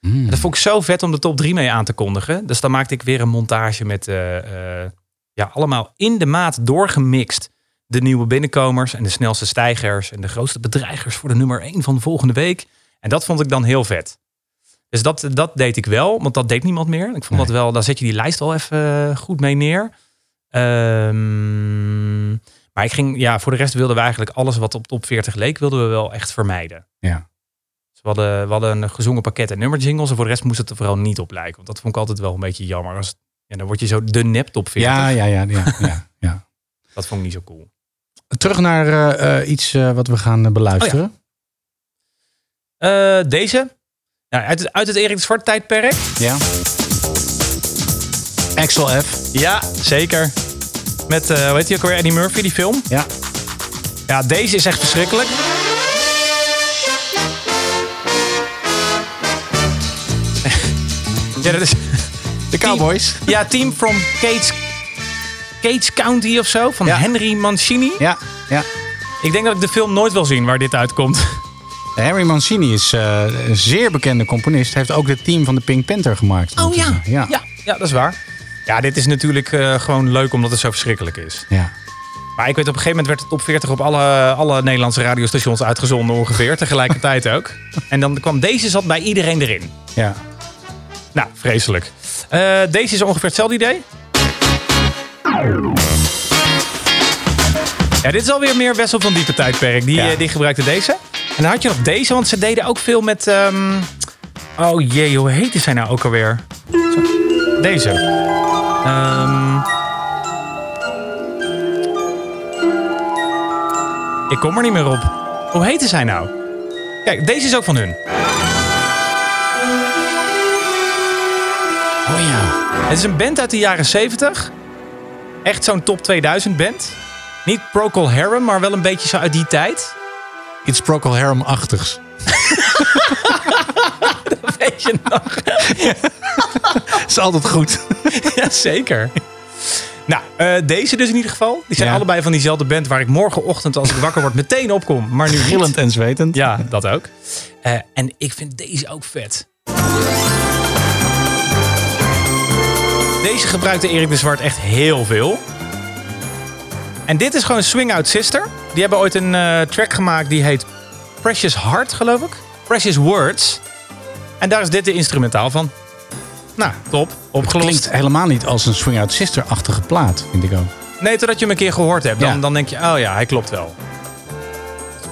Speaker 4: En Dat vond ik zo vet om de top 3 mee aan te kondigen. Dus dan maakte ik weer een montage met eh, eh, ja, allemaal in de maat doorgemixt. De nieuwe binnenkomers en de snelste stijgers en de grootste bedreigers voor de nummer 1 van volgende week. En En dat vond ik dan heel vet. Dus dat, dat deed ik wel, want dat deed niemand meer. Ik vond dat wel, daar zet je die lijst al even eh, goed mee neer. Ehm, maar ik ging, ja, voor de rest wilden we eigenlijk alles wat op top 40 leek, wilden we wel echt vermijden.
Speaker 3: Ja.
Speaker 4: Dus we hadden, we hadden een gezongen pakket en nummerjingles. En voor de rest moest het er vooral niet op lijken. Want dat vond ik altijd wel een beetje jammer. Als, ja, dan word je zo de nep top 40.
Speaker 3: Ja, ja, ja, ja, ja, ja.
Speaker 4: Dat vond ik niet zo cool.
Speaker 3: Terug naar eh, eh, iets eh, wat we gaan eh, beluisteren.
Speaker 4: Eh, deze. Ja, uit, het, uit het Erik de Zwart tijdperk.
Speaker 3: ja. Axel F.
Speaker 4: Ja, zeker. Met, eh weet je ook weer, Eddie Murphy, die film.
Speaker 3: Ja.
Speaker 4: Ja, deze is echt verschrikkelijk. ja, dat is...
Speaker 3: De Cowboys.
Speaker 4: Ja, team from Cates, Cates County of zo. Van
Speaker 3: Ja.
Speaker 4: Henry Mancini.
Speaker 3: Ja, ja.
Speaker 4: Ik denk dat ik de film nooit wil zien waar dit uitkomt.
Speaker 3: Harry Mancini is eh, een zeer bekende componist. Hij heeft ook het team van de Pink Panther gemaakt.
Speaker 4: Oh ja.
Speaker 3: Ja.
Speaker 4: Ja, ja dat is waar. Ja, dit is natuurlijk eh, gewoon leuk omdat het zo verschrikkelijk is.
Speaker 3: ja.
Speaker 4: Maar ik weet, op een gegeven moment werd de top 40 op alle, alle Nederlandse radiostations uitgezonden ongeveer. Tegelijkertijd ook. En dan kwam deze zat bij iedereen erin.
Speaker 3: ja.
Speaker 4: Nou, vreselijk. Eh, deze is ongeveer hetzelfde idee. Ja, dit is alweer meer Wessel van Diepe tijdperk. Die,
Speaker 3: Ja.
Speaker 4: eh, die gebruikte deze. En dan had je nog deze, want ze deden ook veel met... ehm, Oh jee, hoe heette zij nou ook alweer? Zo, Deze. Ehm. Ik kom er niet meer op. Hoe heette zij nou? Kijk, deze is ook van hun.
Speaker 3: Oh ja.
Speaker 4: Het is een band uit de jaren 70. Echt zo'n top 2000 band. Niet Procol Harum, maar wel een beetje zo uit die tijd.
Speaker 3: Iets Procol Harum-achtigs.
Speaker 4: Weet je nog?
Speaker 3: is altijd goed.
Speaker 4: Jazeker. Nou, eh, deze dus in ieder geval. Die zijn
Speaker 3: Ja.
Speaker 4: allebei van diezelfde band waar ik morgenochtend als ik wakker word meteen opkom. Maar nu niet.
Speaker 3: Grillend en zwetend.
Speaker 4: Ja, dat ook. Eh, en ik vind deze ook vet. Deze gebruikte Erik de Zwart echt heel veel. En dit is gewoon Swing Out Sister. Die hebben ooit een eh, track gemaakt die heet Precious Heart, geloof ik. Precious Words. En daar is dit de instrumentaal van. Nou, top. Opgelost.
Speaker 3: Klinkt helemaal niet als een Swing Out Sister-achtige plaat, vind ik ook.
Speaker 4: Nee, totdat je hem een keer gehoord hebt. Dan,
Speaker 3: Ja.
Speaker 4: dan denk je, oh ja, hij klopt wel.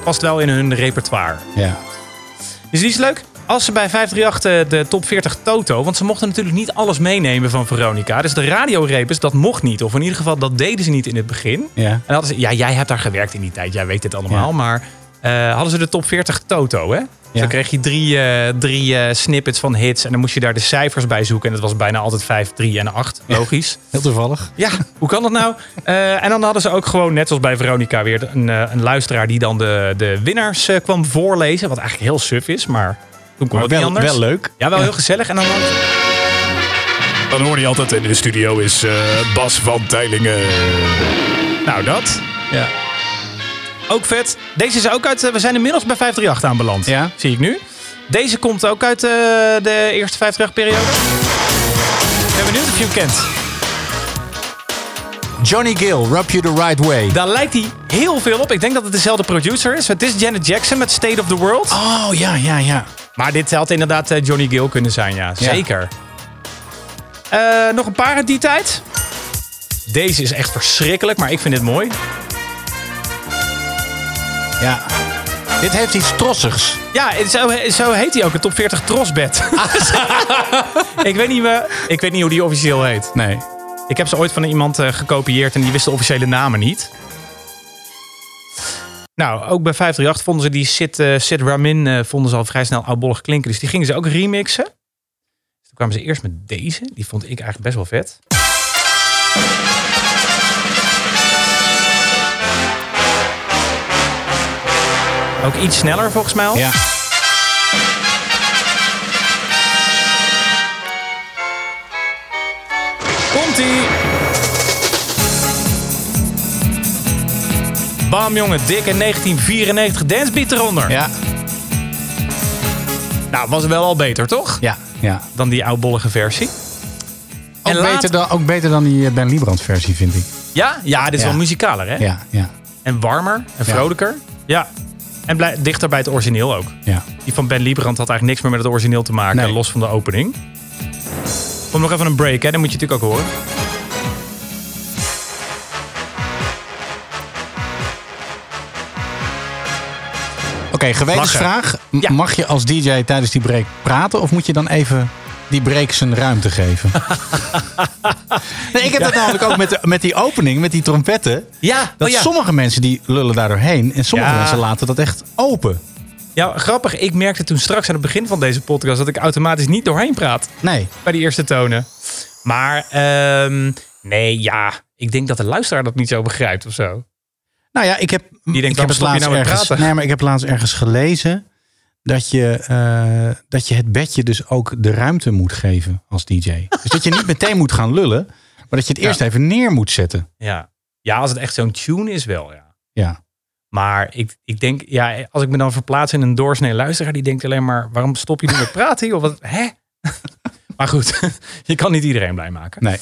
Speaker 4: Past wel in hun repertoire.
Speaker 3: Ja.
Speaker 4: Dus die is leuk. Als ze bij 538 eh, de, de top 40 Toto... want ze mochten natuurlijk niet alles meenemen van Veronica. Dus de radiorepers, dat mocht niet. Of in ieder geval, dat deden ze niet in het begin. En
Speaker 3: Ja.
Speaker 4: dan hadden ze, ja, jij hebt daar gewerkt in die tijd. Jij weet dit allemaal.
Speaker 3: Ja.
Speaker 4: Maar eh, hadden ze de top 40 Toto, hè? Dus
Speaker 3: Ja.
Speaker 4: Dan kreeg je drie, eh, drie eh, snippets van hits. En dan moest je daar de cijfers bij zoeken. En dat was bijna altijd 5, 3 en 8. Logisch.
Speaker 3: Heel toevallig.
Speaker 4: Ja, hoe kan dat nou? Eh, en dan hadden ze ook gewoon, net zoals bij Veronica, weer een, eh, een luisteraar die dan de, de winnaars eh, kwam voorlezen. Wat eigenlijk heel suf is, maar toen kon
Speaker 3: Maar
Speaker 4: het
Speaker 3: wel,
Speaker 4: niet anders.
Speaker 3: wel leuk.
Speaker 4: Ja, wel heel gezellig. En dan had-
Speaker 5: Dan hoor je altijd in de studio is eh, Bas van Teilingen.
Speaker 4: nou dat.
Speaker 3: Ja.
Speaker 4: Ook vet. Deze is ook uit, eh, we zijn inmiddels bij 538 aanbeland.
Speaker 3: Ja.
Speaker 4: Zie ik nu. Deze komt ook uit eh, de eerste 538 periode. Ik ben benieuwd of je hem kent.
Speaker 3: Johnny Gill, Rub You The Right Way.
Speaker 4: Daar lijkt hij heel veel op. Ik denk dat het dezelfde producer is. Het is Janet Jackson met State of the World.
Speaker 3: Oh, ja, ja, ja.
Speaker 4: Maar dit had inderdaad eh, Johnny Gill kunnen zijn, ja. Zeker. Eh, nog een paar uit die tijd. Deze is echt verschrikkelijk, maar ik vind dit mooi.
Speaker 3: Ja. Dit heeft iets trossigs.
Speaker 4: Ja, en zo, zo heet hij ook, het top 40 trosbed. ik, weet niet, we- ik weet niet hoe die officieel heet.
Speaker 3: Nee.
Speaker 4: Ik heb ze ooit van iemand eh, gekopieerd en die wist de officiële namen niet. Nou, ook bij 538 vonden ze die Sid, eh, Sid Ramin eh, vonden ze al vrij snel oudbollig klinken. Dus die gingen ze ook remixen. Dus toen kwamen ze eerst met deze. Die vond ik eigenlijk best wel vet. Ook iets sneller volgens mij al.
Speaker 3: Ja.
Speaker 4: Komt-ie! Bam jongen, dikke 1994 dancebeat eronder.
Speaker 3: Ja.
Speaker 4: Nou, was wel al beter, toch?
Speaker 3: Ja. Ja.
Speaker 4: Dan die oudbollige versie.
Speaker 3: Ook,
Speaker 4: En laat-
Speaker 3: beter dan, ook beter dan die eh, Ben Liebrand versie, vind ik.
Speaker 4: Ja? Ja, dit is
Speaker 3: Ja.
Speaker 4: wel muzikaler, hè?
Speaker 3: Ja, ja.
Speaker 4: En warmer en
Speaker 3: Ja.
Speaker 4: vrolijker. Ja. En blij- dichter bij het origineel ook.
Speaker 3: Ja.
Speaker 4: Die van Ben Liebrand had eigenlijk niks meer met het origineel te maken,
Speaker 3: Nee.
Speaker 4: los van de opening. Kom nog even een break, hè? Dan moet je natuurlijk ook horen.
Speaker 3: Oké, gewetensvraag. M-
Speaker 4: Ja.
Speaker 3: Mag je als DJ tijdens die break praten of moet je dan even die break zijn ruimte geven? nee, ik heb dat namelijk ook met, de- met die opening, met die trompetten.
Speaker 4: Oh Ja,
Speaker 3: Dat sommige mensen die lullen daar doorheen en sommige
Speaker 4: Ja.
Speaker 3: mensen laten dat echt open.
Speaker 4: ja, grappig. Ik merkte toen straks aan het begin van deze podcast dat ik automatisch niet doorheen praat.
Speaker 3: Nee.
Speaker 4: bij die eerste tonen. Maar ehm, nee, ja. Ik denk dat de luisteraar dat niet zo begrijpt of zo.
Speaker 3: Nou ja, ik heb,
Speaker 4: denkt,
Speaker 3: ik heb het
Speaker 4: waarom stop je
Speaker 3: laatst
Speaker 4: nou met
Speaker 3: ergens,
Speaker 4: praten?
Speaker 3: nee, maar ik heb laatst ergens gelezen dat je, eh, dat je het bedje dus ook de ruimte moet geven als DJ. dus dat je niet meteen moet gaan lullen, maar dat je het eerst even neer moet zetten.
Speaker 4: Ja, ja als het echt zo'n tune is wel, ja.
Speaker 3: Ja.
Speaker 4: Maar ik, ik denk, ja, als ik me dan verplaats in een doorsnee luisteraar... die denkt alleen maar, waarom stop je nu met praten? Joh? Wat, hè? maar goed, je kan niet iedereen blij maken.
Speaker 3: Nee.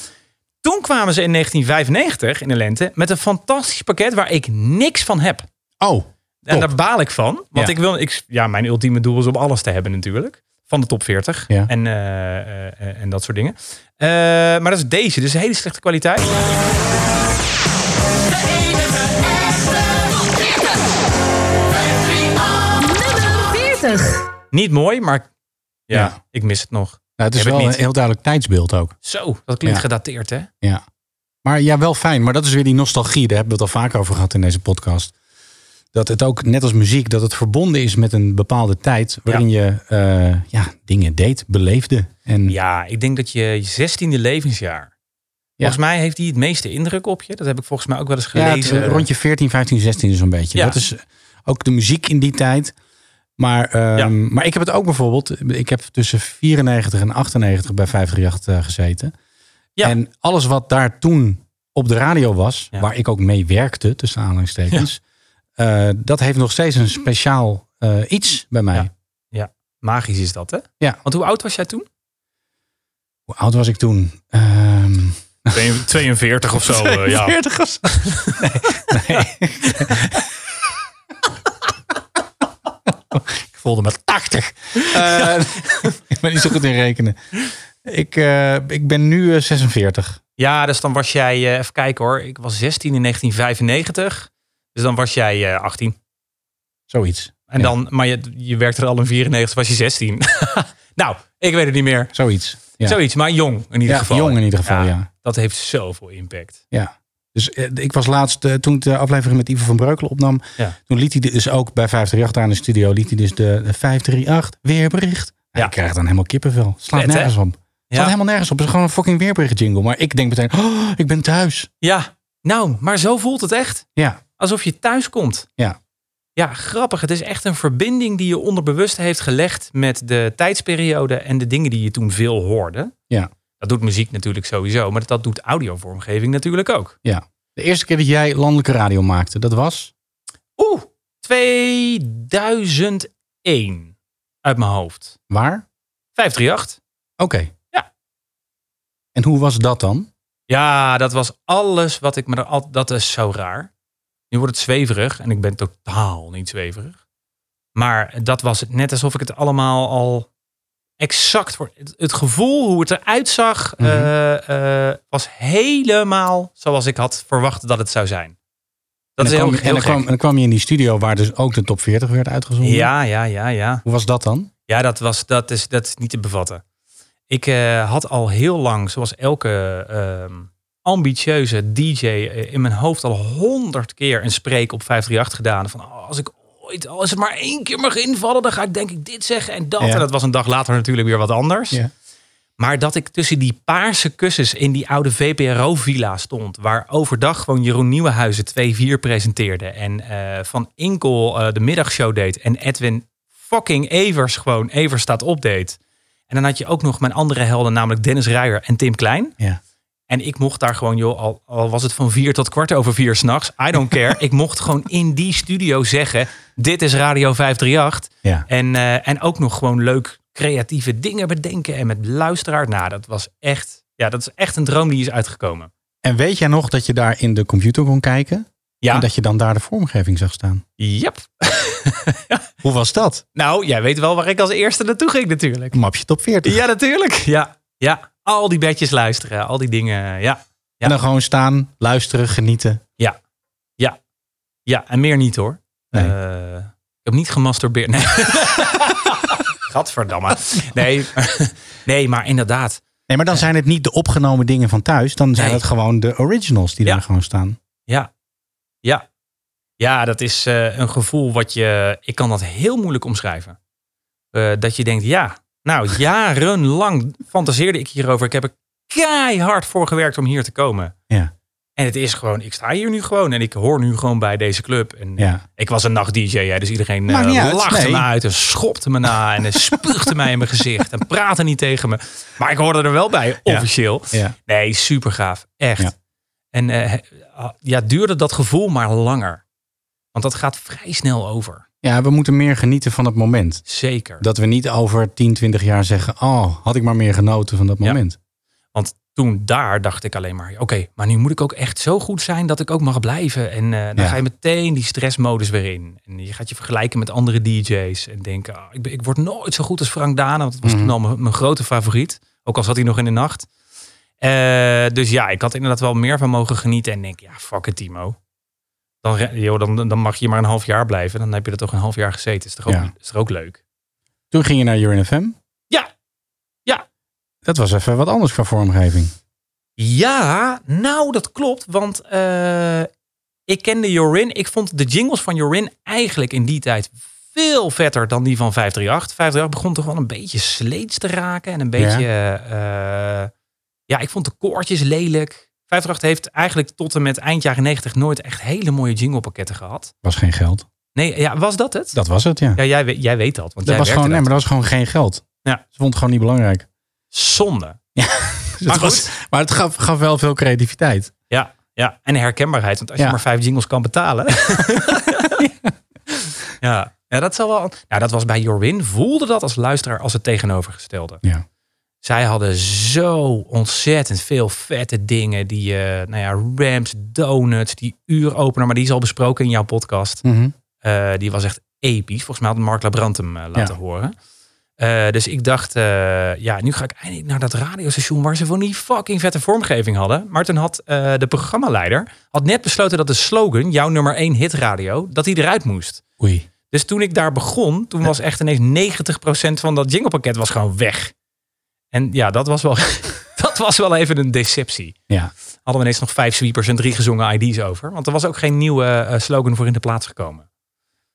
Speaker 4: Toen kwamen ze in 1995 in de lente met een fantastisch pakket... waar ik niks van heb.
Speaker 3: Oh, Top.
Speaker 4: En daar baal ik van. Want
Speaker 3: Ja.
Speaker 4: ik wil, ik, ja, mijn ultieme doel is om alles te hebben natuurlijk. Van de top 40
Speaker 3: Ja.
Speaker 4: en, eh, eh, eh, en dat soort dingen. Eh, maar dat is deze, dus hele slechte kwaliteit. Niet mooi, maar ja,
Speaker 3: Ja.
Speaker 4: ik mis het nog.
Speaker 3: nou, het is
Speaker 4: Heb ik
Speaker 3: wel
Speaker 4: niet.
Speaker 3: een heel duidelijk tijdsbeeld ook.
Speaker 4: Zo, dat klinkt
Speaker 3: Ja.
Speaker 4: gedateerd hè?
Speaker 3: Ja. Maar ja, wel fijn. Maar dat is weer die nostalgie. Daar hebben we het al vaker over gehad in deze podcast. Dat het ook, net als muziek, dat het verbonden is met een bepaalde tijd. waarin je eh, ja, dingen deed, beleefde. En
Speaker 4: Ja, ik denk dat je je 16e levensjaar. Volgens mij heeft die het meeste indruk op je. Dat heb ik volgens mij ook wel eens
Speaker 3: Ja, het,
Speaker 4: gelezen.
Speaker 3: eh, rondje 14, 15, 16 is een beetje.
Speaker 4: Ja.
Speaker 3: Dat is eh, ook de muziek in die tijd. Maar, ehm,
Speaker 4: Ja.
Speaker 3: maar ik heb het ook bijvoorbeeld. Ik heb tussen 94 en 98 bij 538 eh, gezeten.
Speaker 4: Ja.
Speaker 3: En alles wat daar toen op de radio was,
Speaker 4: Ja.
Speaker 3: waar ik ook mee werkte, tussen aanhalingstekens, eh, dat heeft nog steeds een speciaal eh, iets bij mij.
Speaker 4: Ja. Magisch is dat hè?
Speaker 3: Ja.
Speaker 4: Want hoe oud was jij toen?
Speaker 3: Hoe oud was ik toen? Ehm
Speaker 5: 42 of zo, eh, ja.
Speaker 3: 40 of zo. Nee. nee. ik voelde me 80. Eh, ik ben niet zo goed in rekenen. Ik, eh, ik ben nu eh, 46.
Speaker 4: Ja, dus dan was jij, eh, even kijken hoor, ik was 16 in 1995. Dus dan was jij eh, 18.
Speaker 3: Zoiets.
Speaker 4: En
Speaker 3: Ja.
Speaker 4: dan, maar je, je werkte er al in 94, was je 16. nou, ik weet het niet meer.
Speaker 3: Zoiets. Ja.
Speaker 4: Zoiets, maar jong in ieder
Speaker 3: Ja,
Speaker 4: geval.
Speaker 3: jong in ieder geval, ja. ja.
Speaker 4: Dat heeft zoveel impact.
Speaker 3: Dus eh, ik was laatst, eh, toen ik de aflevering met Ivo van Breukelen opnam,
Speaker 4: Ja.
Speaker 3: toen liet hij dus ook bij 538 aan de studio, liet hij dus de, de 538 weerbericht. Ja.
Speaker 4: Ja.
Speaker 3: Ik krijg dan helemaal kippenvel. Slaat
Speaker 4: Vet, hè?
Speaker 3: nergens op. Het
Speaker 4: Ja.
Speaker 3: slaat helemaal nergens op. Het is gewoon een fucking weerbericht jingle. Maar ik denk meteen, oh, ik ben thuis.
Speaker 4: Ja, nou, maar zo voelt het echt.
Speaker 3: Ja,
Speaker 4: Alsof je thuis komt.
Speaker 3: Ja.
Speaker 4: Ja, grappig. Het is echt een verbinding die je onderbewust heeft gelegd met de tijdsperiode en de dingen die je toen veel hoorde.
Speaker 3: Ja.
Speaker 4: Dat doet muziek natuurlijk sowieso, maar dat doet audiovormgeving natuurlijk ook.
Speaker 3: De eerste keer dat jij landelijke radio maakte, dat was?
Speaker 4: Oeh, 2001 uit mijn hoofd.
Speaker 3: Waar?
Speaker 4: 538.
Speaker 3: Oké.
Speaker 4: Ja.
Speaker 3: En hoe was dat dan?
Speaker 4: Ja, dat was alles wat ik me er al. Dat is zo raar. Nu wordt het zweverig en ik ben totaal niet zweverig. Maar dat was het net alsof ik het allemaal al exact voor. Het, het gevoel hoe het eruit zag
Speaker 3: Mhm.
Speaker 4: eh, eh, was helemaal zoals ik had verwacht dat het zou zijn.
Speaker 3: en dan
Speaker 4: Dat is heel,
Speaker 3: kwam, je-
Speaker 4: heel
Speaker 3: en dan
Speaker 4: gek.
Speaker 3: kwam, en dan kwam je in die studio waar dus ook de top 40 werd uitgezonden.
Speaker 4: Ja, ja, ja, ja.
Speaker 3: Hoe was dat dan?
Speaker 4: Ja, dat, was, dat, is, dat is niet te bevatten. Ik eh, had al heel lang, zoals elke ehm, ambitieuze DJ, eh, in mijn hoofd al honderd keer een spreek op 538 gedaan. Van oh, als ik ooit, als het maar één keer mag invallen, dan ga ik denk ik dit zeggen en dat.
Speaker 3: Ja.
Speaker 4: En dat was een dag later natuurlijk weer wat anders.
Speaker 3: Ja.
Speaker 4: Maar dat ik tussen die paarse kussens in die oude VPRO-villa stond. Waar overdag gewoon Jeroen Nieuwenhuizen 2-4 presenteerde. En eh, Van Inkel eh, de middagshow deed. En Edwin fucking Evers gewoon Evers staat opdeed. En dan had je ook nog mijn andere helden, namelijk Dennis Ruijer en Tim Klein.
Speaker 3: Ja.
Speaker 4: En ik mocht daar gewoon, joh, al, al was het van vier tot kwart over vier s'nachts. I don't care. ik mocht gewoon in die studio zeggen, dit is Radio 538.
Speaker 3: Ja.
Speaker 4: En, eh, en ook nog gewoon leuk creatieve dingen bedenken en met luisteraar. Nou, dat was echt, ja, dat is echt een droom die is uitgekomen.
Speaker 3: En weet jij nog dat je daar in de computer kon kijken?
Speaker 4: Ja,
Speaker 3: En dat je dan daar de vormgeving zag staan?
Speaker 4: yep.
Speaker 3: Hoe was dat?
Speaker 4: Nou, jij weet wel waar ik als eerste naartoe ging natuurlijk.
Speaker 3: Mapje top 40.
Speaker 4: Ja, natuurlijk. Ja, ja. Al die bedjes luisteren, al die dingen. Ja,
Speaker 3: En dan gewoon staan, luisteren, genieten.
Speaker 4: ja en meer niet hoor.
Speaker 3: Nee.
Speaker 4: Eh, ik heb niet gemasturbeerd. Nee. Gadverdamme. Nee, nee, maar inderdaad.
Speaker 3: Nee, maar dan zijn het niet de opgenomen dingen van thuis. Dan zijn
Speaker 4: Nee.
Speaker 3: het gewoon de originals die
Speaker 4: Ja.
Speaker 3: daar gewoon staan.
Speaker 4: Ja. Ja. Ja, dat is eh, een gevoel wat je. Ik kan dat heel moeilijk omschrijven. Eh, dat je denkt, ja. Nou, jarenlang fantaseerde ik hierover. Ik heb er keihard voor gewerkt om hier te komen.
Speaker 3: Ja.
Speaker 4: En het is gewoon, ik sta hier nu gewoon en ik hoor nu gewoon bij deze club. En eh,
Speaker 3: Ja.
Speaker 4: ik was een nacht-DJ, hè, dus iedereen eh,
Speaker 3: Maakt niet uit,
Speaker 4: lachte
Speaker 3: nee.
Speaker 4: me uit en schopte me na en eh, spuugde mij in mijn gezicht en praatte niet tegen me. Maar ik hoorde er wel bij,
Speaker 3: Ja.
Speaker 4: officieel.
Speaker 3: ja.
Speaker 4: Nee, super gaaf. Echt.
Speaker 3: Ja.
Speaker 4: En eh, he- ah, ja, duurde dat gevoel maar langer. Want dat gaat vrij snel over.
Speaker 3: Ja, we moeten meer genieten van het moment.
Speaker 4: Zeker.
Speaker 3: Dat we niet over 10, 20 jaar zeggen: Oh, had ik maar meer genoten van dat
Speaker 4: Ja.
Speaker 3: moment.
Speaker 4: Want toen daar dacht ik alleen maar... Oké, maar nu moet ik ook echt zo goed zijn dat ik ook mag blijven. En eh, dan
Speaker 3: Ja.
Speaker 4: ga je meteen die stressmodus weer in. En je gaat je vergelijken met andere DJ's. En denken, ah, ik, ben- ik word nooit zo goed als Frank Dana. Want dat was
Speaker 3: Mhm.
Speaker 4: toen al mijn, mijn grote favoriet. Ook al zat hij nog in de nacht. Eh, dus ja, ik had er inderdaad wel meer van mogen genieten. En denk, ja, fuck it, Timo. Dan, re- joh, dan, dan mag je maar een half jaar blijven. Dan heb je er toch een half jaar gezeten. Is toch ook,
Speaker 3: Ja.
Speaker 4: is toch ook leuk?
Speaker 3: Toen ging je naar Urine FM.
Speaker 4: Ja. Ja.
Speaker 3: Dat was even wat anders qua vormgeving.
Speaker 4: Ja, nou dat klopt, want eh, ik kende Jorin. Ik vond de jingles van Jorin eigenlijk in die tijd veel vetter dan die van 538. 538 begon toch wel een beetje sleets te raken en een beetje... eh, ja, ik vond de koortjes lelijk. 538 heeft eigenlijk tot en met eind jaren 90 nooit echt hele mooie jinglepakketten gehad.
Speaker 3: Was geen geld.
Speaker 4: Nee, ja, was dat het?
Speaker 3: Dat was het, ja.
Speaker 4: Ja, jij, weet- jij weet dat,
Speaker 3: dat
Speaker 4: want jij
Speaker 3: was
Speaker 4: werkte
Speaker 3: gewoon, nee,
Speaker 4: daar.
Speaker 3: maar dat was gewoon geen geld.
Speaker 4: Ja.
Speaker 3: Ze vond het gewoon niet belangrijk.
Speaker 4: Zonde.
Speaker 3: Dus het was- maar het gaf, gaf wel veel creativiteit.
Speaker 4: Ja, ja, en herkenbaarheid. Want als
Speaker 3: Ja.
Speaker 4: je maar vijf jingles kan betalen. ja. ja, dat zal wel. Nou, dat was bij Jorwin. Voelde dat als luisteraar als het tegenovergestelde.
Speaker 3: Ja.
Speaker 4: Zij hadden zo ontzettend veel vette dingen. Die, eh, nou ja, Rams, Donuts, die uuropener. Maar die is al besproken in jouw podcast.
Speaker 3: Mhm.
Speaker 4: Eh, die was echt episch. Volgens mij had Mark Labrant hem eh, laten
Speaker 3: Ja.
Speaker 4: horen. Eh, dus ik dacht, eh, ja, nu ga ik eindelijk naar dat radiostation waar ze van die fucking vette vormgeving hadden. Maar toen had eh, de programmaleider had net besloten dat de slogan, jouw nummer 1 hitradio, dat die eruit moest.
Speaker 3: Oei.
Speaker 4: Dus toen ik daar begon, toen was echt ineens 90% van dat jinglepakket was gewoon weg. En ja, dat was wel, dat was wel even een deceptie.
Speaker 3: Ja.
Speaker 4: Hadden we ineens nog vijf sweepers en drie gezongen ID's over. Want er was ook geen nieuwe eh, slogan voor in de plaats gekomen.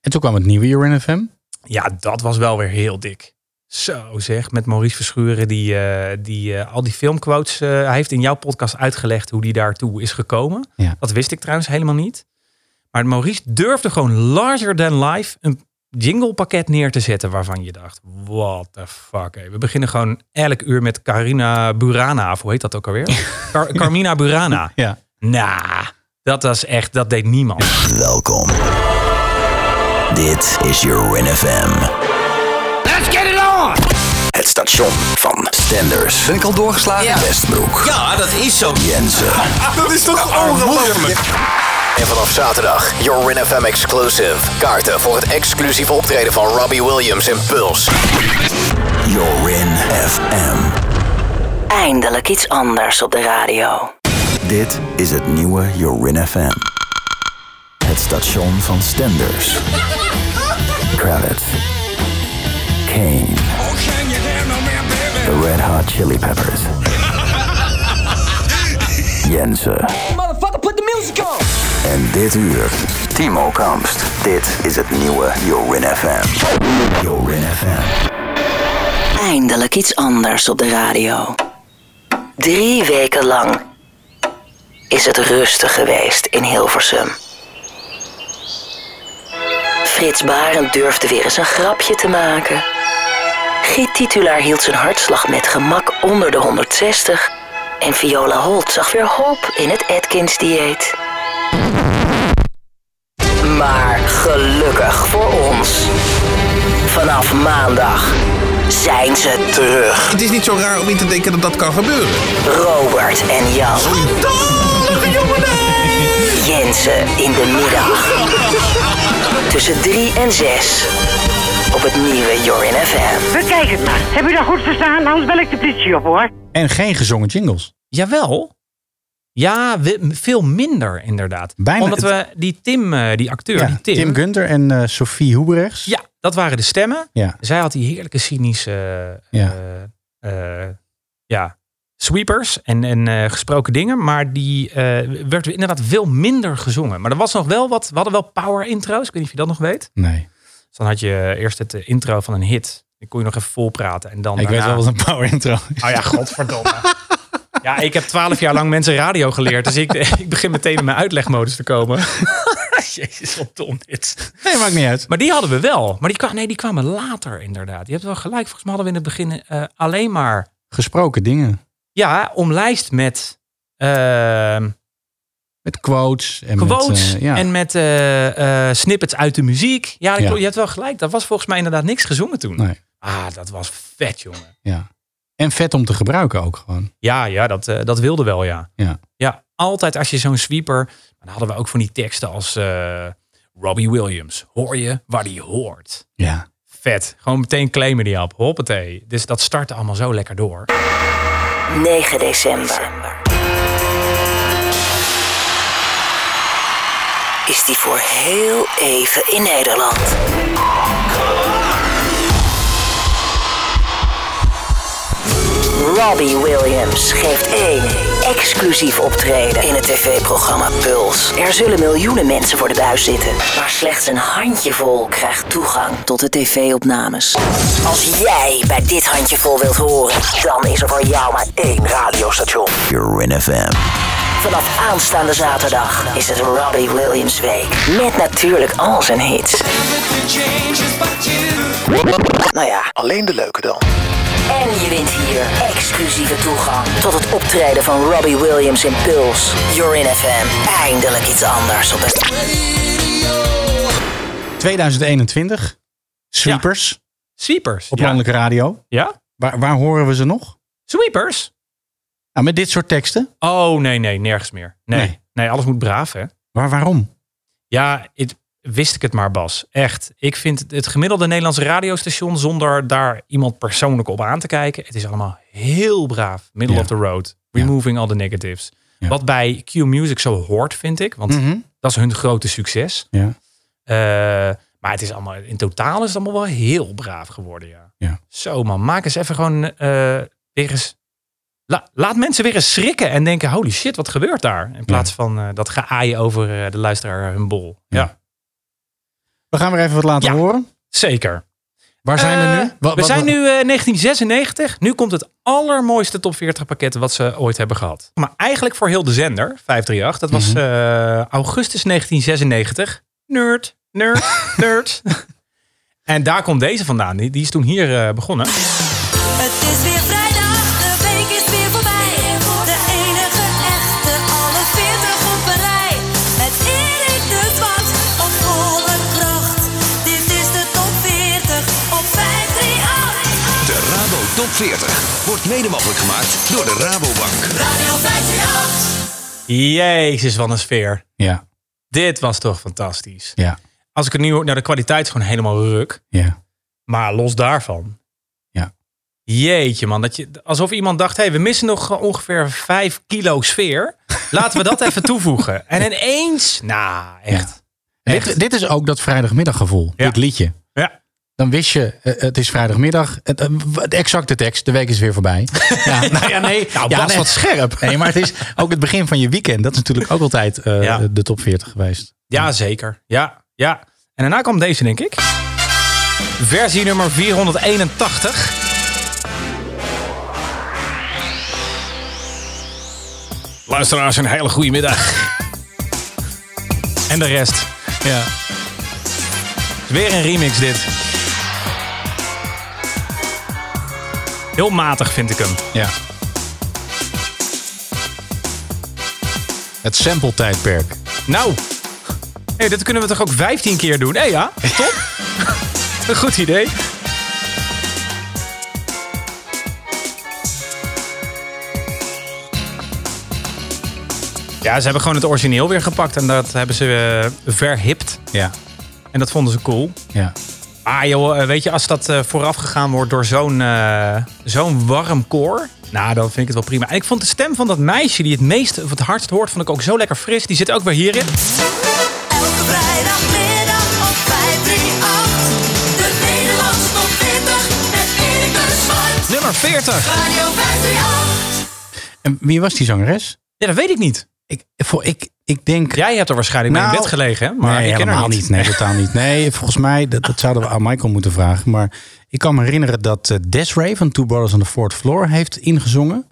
Speaker 3: En toen kwam het nieuwe Urine FM.
Speaker 4: Ja, dat was wel weer heel dik. Zo zeg, met Maurice Verschuren, die, eh, die eh, al die filmquotes... eh, hij heeft in jouw podcast uitgelegd hoe die daartoe is gekomen.
Speaker 3: Ja.
Speaker 4: Dat wist ik trouwens helemaal niet. Maar Maurice durfde gewoon larger than life een jinglepakket neer te zetten... waarvan je dacht, what the fuck. hé. We beginnen gewoon elk uur met Carina Burana, of hoe heet dat ook alweer? Car- Carmina Burana.
Speaker 3: Ja.
Speaker 4: Nou, dat was echt, dat deed niemand.
Speaker 8: Welkom. Dit is Urin FM.
Speaker 9: Let's get it on!
Speaker 8: Het station van Stenders. Ben ik al doorgeslagen? Westbroek. Ja, dat is zo. Jensen.
Speaker 1: Dat is toch ongelooflijk?
Speaker 8: En vanaf zaterdag, Urin FM exclusive. Kaarten voor het exclusieve optreden van Robbie Williams in Puls. Urin FM.
Speaker 10: Eindelijk iets anders op de radio.
Speaker 8: Dit is het nieuwe Urin FM. Het station van Stenders. Kravitz. Kane. The Red Hot Chili Peppers. Jensen.
Speaker 9: Motherfucker, put the music on!
Speaker 8: En dit uur, Timo Kamst. Dit is het nieuwe Jorin FM. Jorin FM.
Speaker 10: Eindelijk iets anders op de radio. Drie weken lang is het rustig geweest in Hilversum. Frits Barend durfde weer eens een grapje te maken. Giet Titulaar hield zijn hartslag met gemak onder de 160. En Viola Holt zag weer hoop in het Atkins-dieet. Maar gelukkig voor ons. Vanaf maandag zijn ze terug.
Speaker 11: Het is niet zo raar om in te denken dat dat kan gebeuren.
Speaker 10: Robert en Jan. Jensen in de middag. Tussen 3 en 6. Op het nieuwe Jorin FM.
Speaker 11: Bekijk het maar. Heb je dat goed verstaan? Anders bel ik de politie op hoor.
Speaker 3: En geen gezongen jingles.
Speaker 4: Jawel. Ja, we- veel minder inderdaad.
Speaker 3: Bijna
Speaker 4: Omdat we
Speaker 3: het-
Speaker 4: die Tim, eh, die acteur,
Speaker 3: Ja,
Speaker 4: die
Speaker 3: Tim. Gunter en eh, Sophie Hoeberechts.
Speaker 4: Ja, dat waren de stemmen.
Speaker 3: Ja.
Speaker 4: Zij had die heerlijke cynische eh, eh, eh, ja, sweepers en, en eh, gesproken dingen. Maar die eh, werd inderdaad veel minder gezongen. Maar er was nog wel wat. We hadden wel power intro's. Ik weet niet of je dat nog weet.
Speaker 3: Nee.
Speaker 4: Dus dan had je eerst het eh, intro van een hit. Dan kon je nog even volpraten. En
Speaker 3: Ik
Speaker 4: dan
Speaker 3: weet
Speaker 4: daarna-
Speaker 3: wel wat een power intro is.
Speaker 4: Oh ja, godverdomme. Ja, ik heb twaalf jaar lang mensen radio geleerd. Dus ik, ik begin meteen in mijn uitlegmodus te komen. Jezus, wat dom dit.
Speaker 3: Nee, maakt niet uit.
Speaker 4: Maar die hadden we wel. Maar die, kwa- nee, die kwamen later inderdaad. Je hebt wel gelijk. Volgens mij hadden we in het begin eh, alleen maar...
Speaker 3: Gesproken dingen.
Speaker 4: Ja, omlijst met... ehm,
Speaker 3: Met quotes. En
Speaker 4: quotes
Speaker 3: Met, eh, ja.
Speaker 4: en met eh, eh, snippets uit de muziek. Ja, ik
Speaker 3: Ja.
Speaker 4: klopt, je hebt wel gelijk. Dat was volgens mij inderdaad niks gezongen toen.
Speaker 3: Nee.
Speaker 4: Ah, dat was vet, jongen.
Speaker 3: ja. En vet om te gebruiken ook gewoon.
Speaker 4: Ja, ja dat, eh, dat wilde wel, ja.
Speaker 3: Ja.
Speaker 4: Ja, altijd als je zo'n sweeper... Dan hadden we ook van die teksten als... eh, Robbie Williams, hoor je waar die hoort?
Speaker 3: Ja.
Speaker 4: Vet. Gewoon meteen claimen die app. Hoppatee. Dus dat startte allemaal zo lekker door.
Speaker 10: 9 december. Is die voor heel even in Nederland. Robbie Williams geeft één exclusief optreden in het tv-programma Puls. Er zullen miljoenen mensen voor de buis zitten, maar slechts een handjevol krijgt toegang tot de tv-opnames. Als jij bij dit handjevol wilt horen, dan is er voor jou maar één radiostation.
Speaker 8: Jorin FM.
Speaker 10: Vanaf aanstaande zaterdag is het Robbie Williams Week. Met natuurlijk al zijn hits. Nou ja,
Speaker 8: Alleen de leuke dan.
Speaker 10: en je wint hier exclusieve toegang tot het optreden van Robbie Williams in Puls. You're in FM. Eindelijk iets anders op de...
Speaker 3: 2021. Sweepers.
Speaker 4: Sweepers.
Speaker 3: Op
Speaker 4: ja.
Speaker 3: landelijke radio.
Speaker 4: Ja?
Speaker 3: Waar, waar horen we ze nog?
Speaker 4: Sweepers?
Speaker 3: Nou, met dit soort teksten.
Speaker 4: Oh, nee, nee. Nergens meer. Nee.
Speaker 3: Nee.
Speaker 4: Nee, alles moet braaf, hè?
Speaker 3: Maar waarom?
Speaker 4: Ja, het, wist ik het maar, Bas. Echt. Ik vind het, het gemiddelde Nederlandse radiostation... zonder daar iemand persoonlijk op aan te kijken... het is allemaal heel braaf. Middle
Speaker 3: Ja.
Speaker 4: of the road. Removing all the negatives.
Speaker 3: Ja.
Speaker 4: Wat bij Q Music zo hoort, vind ik. Want
Speaker 3: Mhm.
Speaker 4: dat is hun grote succes.
Speaker 3: Ja.
Speaker 4: Eh, maar het is allemaal, in totaal is het allemaal wel heel braaf geworden, ja.
Speaker 3: Ja.
Speaker 4: Zo man, maak eens even gewoon eh, weer eens... La- laat mensen weer eens schrikken en denken, holy shit, wat gebeurt daar? In plaats van eh, dat geaaien over eh, de luisteraar hun bol. Ja,
Speaker 3: We gaan weer even wat laten
Speaker 4: Ja.
Speaker 3: horen.
Speaker 4: zeker.
Speaker 3: Waar zijn we
Speaker 4: Eh,
Speaker 3: nu? Wat-
Speaker 4: we
Speaker 3: wat-
Speaker 4: zijn nu eh, 1996. Nu komt het allermooiste top 40 pakket wat ze ooit hebben gehad. Maar eigenlijk voor heel de zender, 538. Dat was eh, augustus 1996. Nerd, nerd, nerd. en daar komt deze vandaan. Die, die is toen hier eh, begonnen.
Speaker 7: Het is weer vrijdag, de week is weer voorbij. De enige echte, alle 40 op een rij. Met Erik de Zwart op volle kracht. Dit is de top 40 op 538.
Speaker 1: De Rabo Top 40 wordt mede mogelijk gemaakt door de Rabobank.
Speaker 7: Radio 538.
Speaker 4: Jezus, wat een sfeer.
Speaker 3: Ja,
Speaker 4: Dit was toch fantastisch.
Speaker 3: ja,
Speaker 4: Als ik het nu hoor, nou de kwaliteit is gewoon helemaal ruk.
Speaker 3: ja.
Speaker 4: Maar los daarvan.
Speaker 3: Ja.
Speaker 4: Jeetje man, dat je, alsof iemand dacht, hey, we missen nog eh, ongeveer 5 kilo sfeer. Laten we dat even toevoegen. En ineens, nou echt.
Speaker 3: En
Speaker 4: Echt.
Speaker 3: Dit, dit is ook dat vrijdagmiddaggevoel.
Speaker 4: Ja.
Speaker 3: Dit liedje.
Speaker 4: Ja.
Speaker 3: Dan wist je, eh, het is vrijdagmiddag. Het, eh, w- de exacte tekst, de week is weer voorbij. Ja, nou ja, nee.
Speaker 4: Nou,
Speaker 3: ja,
Speaker 4: Bas,
Speaker 3: nee.
Speaker 4: wat scherp.
Speaker 3: Nee, maar het is ook het begin van je weekend. Dat is natuurlijk ook altijd eh,
Speaker 4: Ja.
Speaker 3: de top 40 geweest.
Speaker 4: Ja, zeker. Ja, ja. En daarna kwam deze, denk ik. Versie nummer 481. Luisteraars, een hele goede middag. En de rest.
Speaker 3: Ja.
Speaker 4: Weer een remix dit. Heel matig vind ik hem.
Speaker 3: ja. Het sample-tijdperk.
Speaker 4: Nou, hey, dit kunnen we toch ook 15 keer doen? Hé ja, top. een goed idee. Ja, ze hebben gewoon het origineel weer gepakt en dat hebben ze eh, verhipt.
Speaker 3: Ja.
Speaker 4: En dat vonden ze cool.
Speaker 3: Ja.
Speaker 4: Ah joh, eh, weet je, als dat eh, vooraf gegaan wordt door zo'n eh, zo'n warm koor... Nou, dan vind ik het wel prima. En ik vond de stem van dat meisje die het meest of het hardst hoort... vond ik ook zo lekker fris. Die zit ook weer hierin.
Speaker 7: Vrijdagmiddag op 538. De Nederlandse top 40 met Erik de Zwart.
Speaker 4: Nummer 40.
Speaker 7: Radio 538.
Speaker 3: En wie was die zangeres?
Speaker 4: Ja, dat weet ik niet.
Speaker 3: Ik, voor, ik, ik denk...
Speaker 4: Jij hebt er waarschijnlijk mee in
Speaker 3: Nou,
Speaker 4: bed gelegen, hè? Maar
Speaker 3: nee,
Speaker 4: ik ken
Speaker 3: helemaal
Speaker 4: haar niet.
Speaker 3: Nee, totaal niet. Nee, volgens mij, dat, dat zouden we aan Michael moeten vragen. Maar ik kan me herinneren dat eh, Desiree van Two Brothers on the Fourth Floor heeft ingezongen.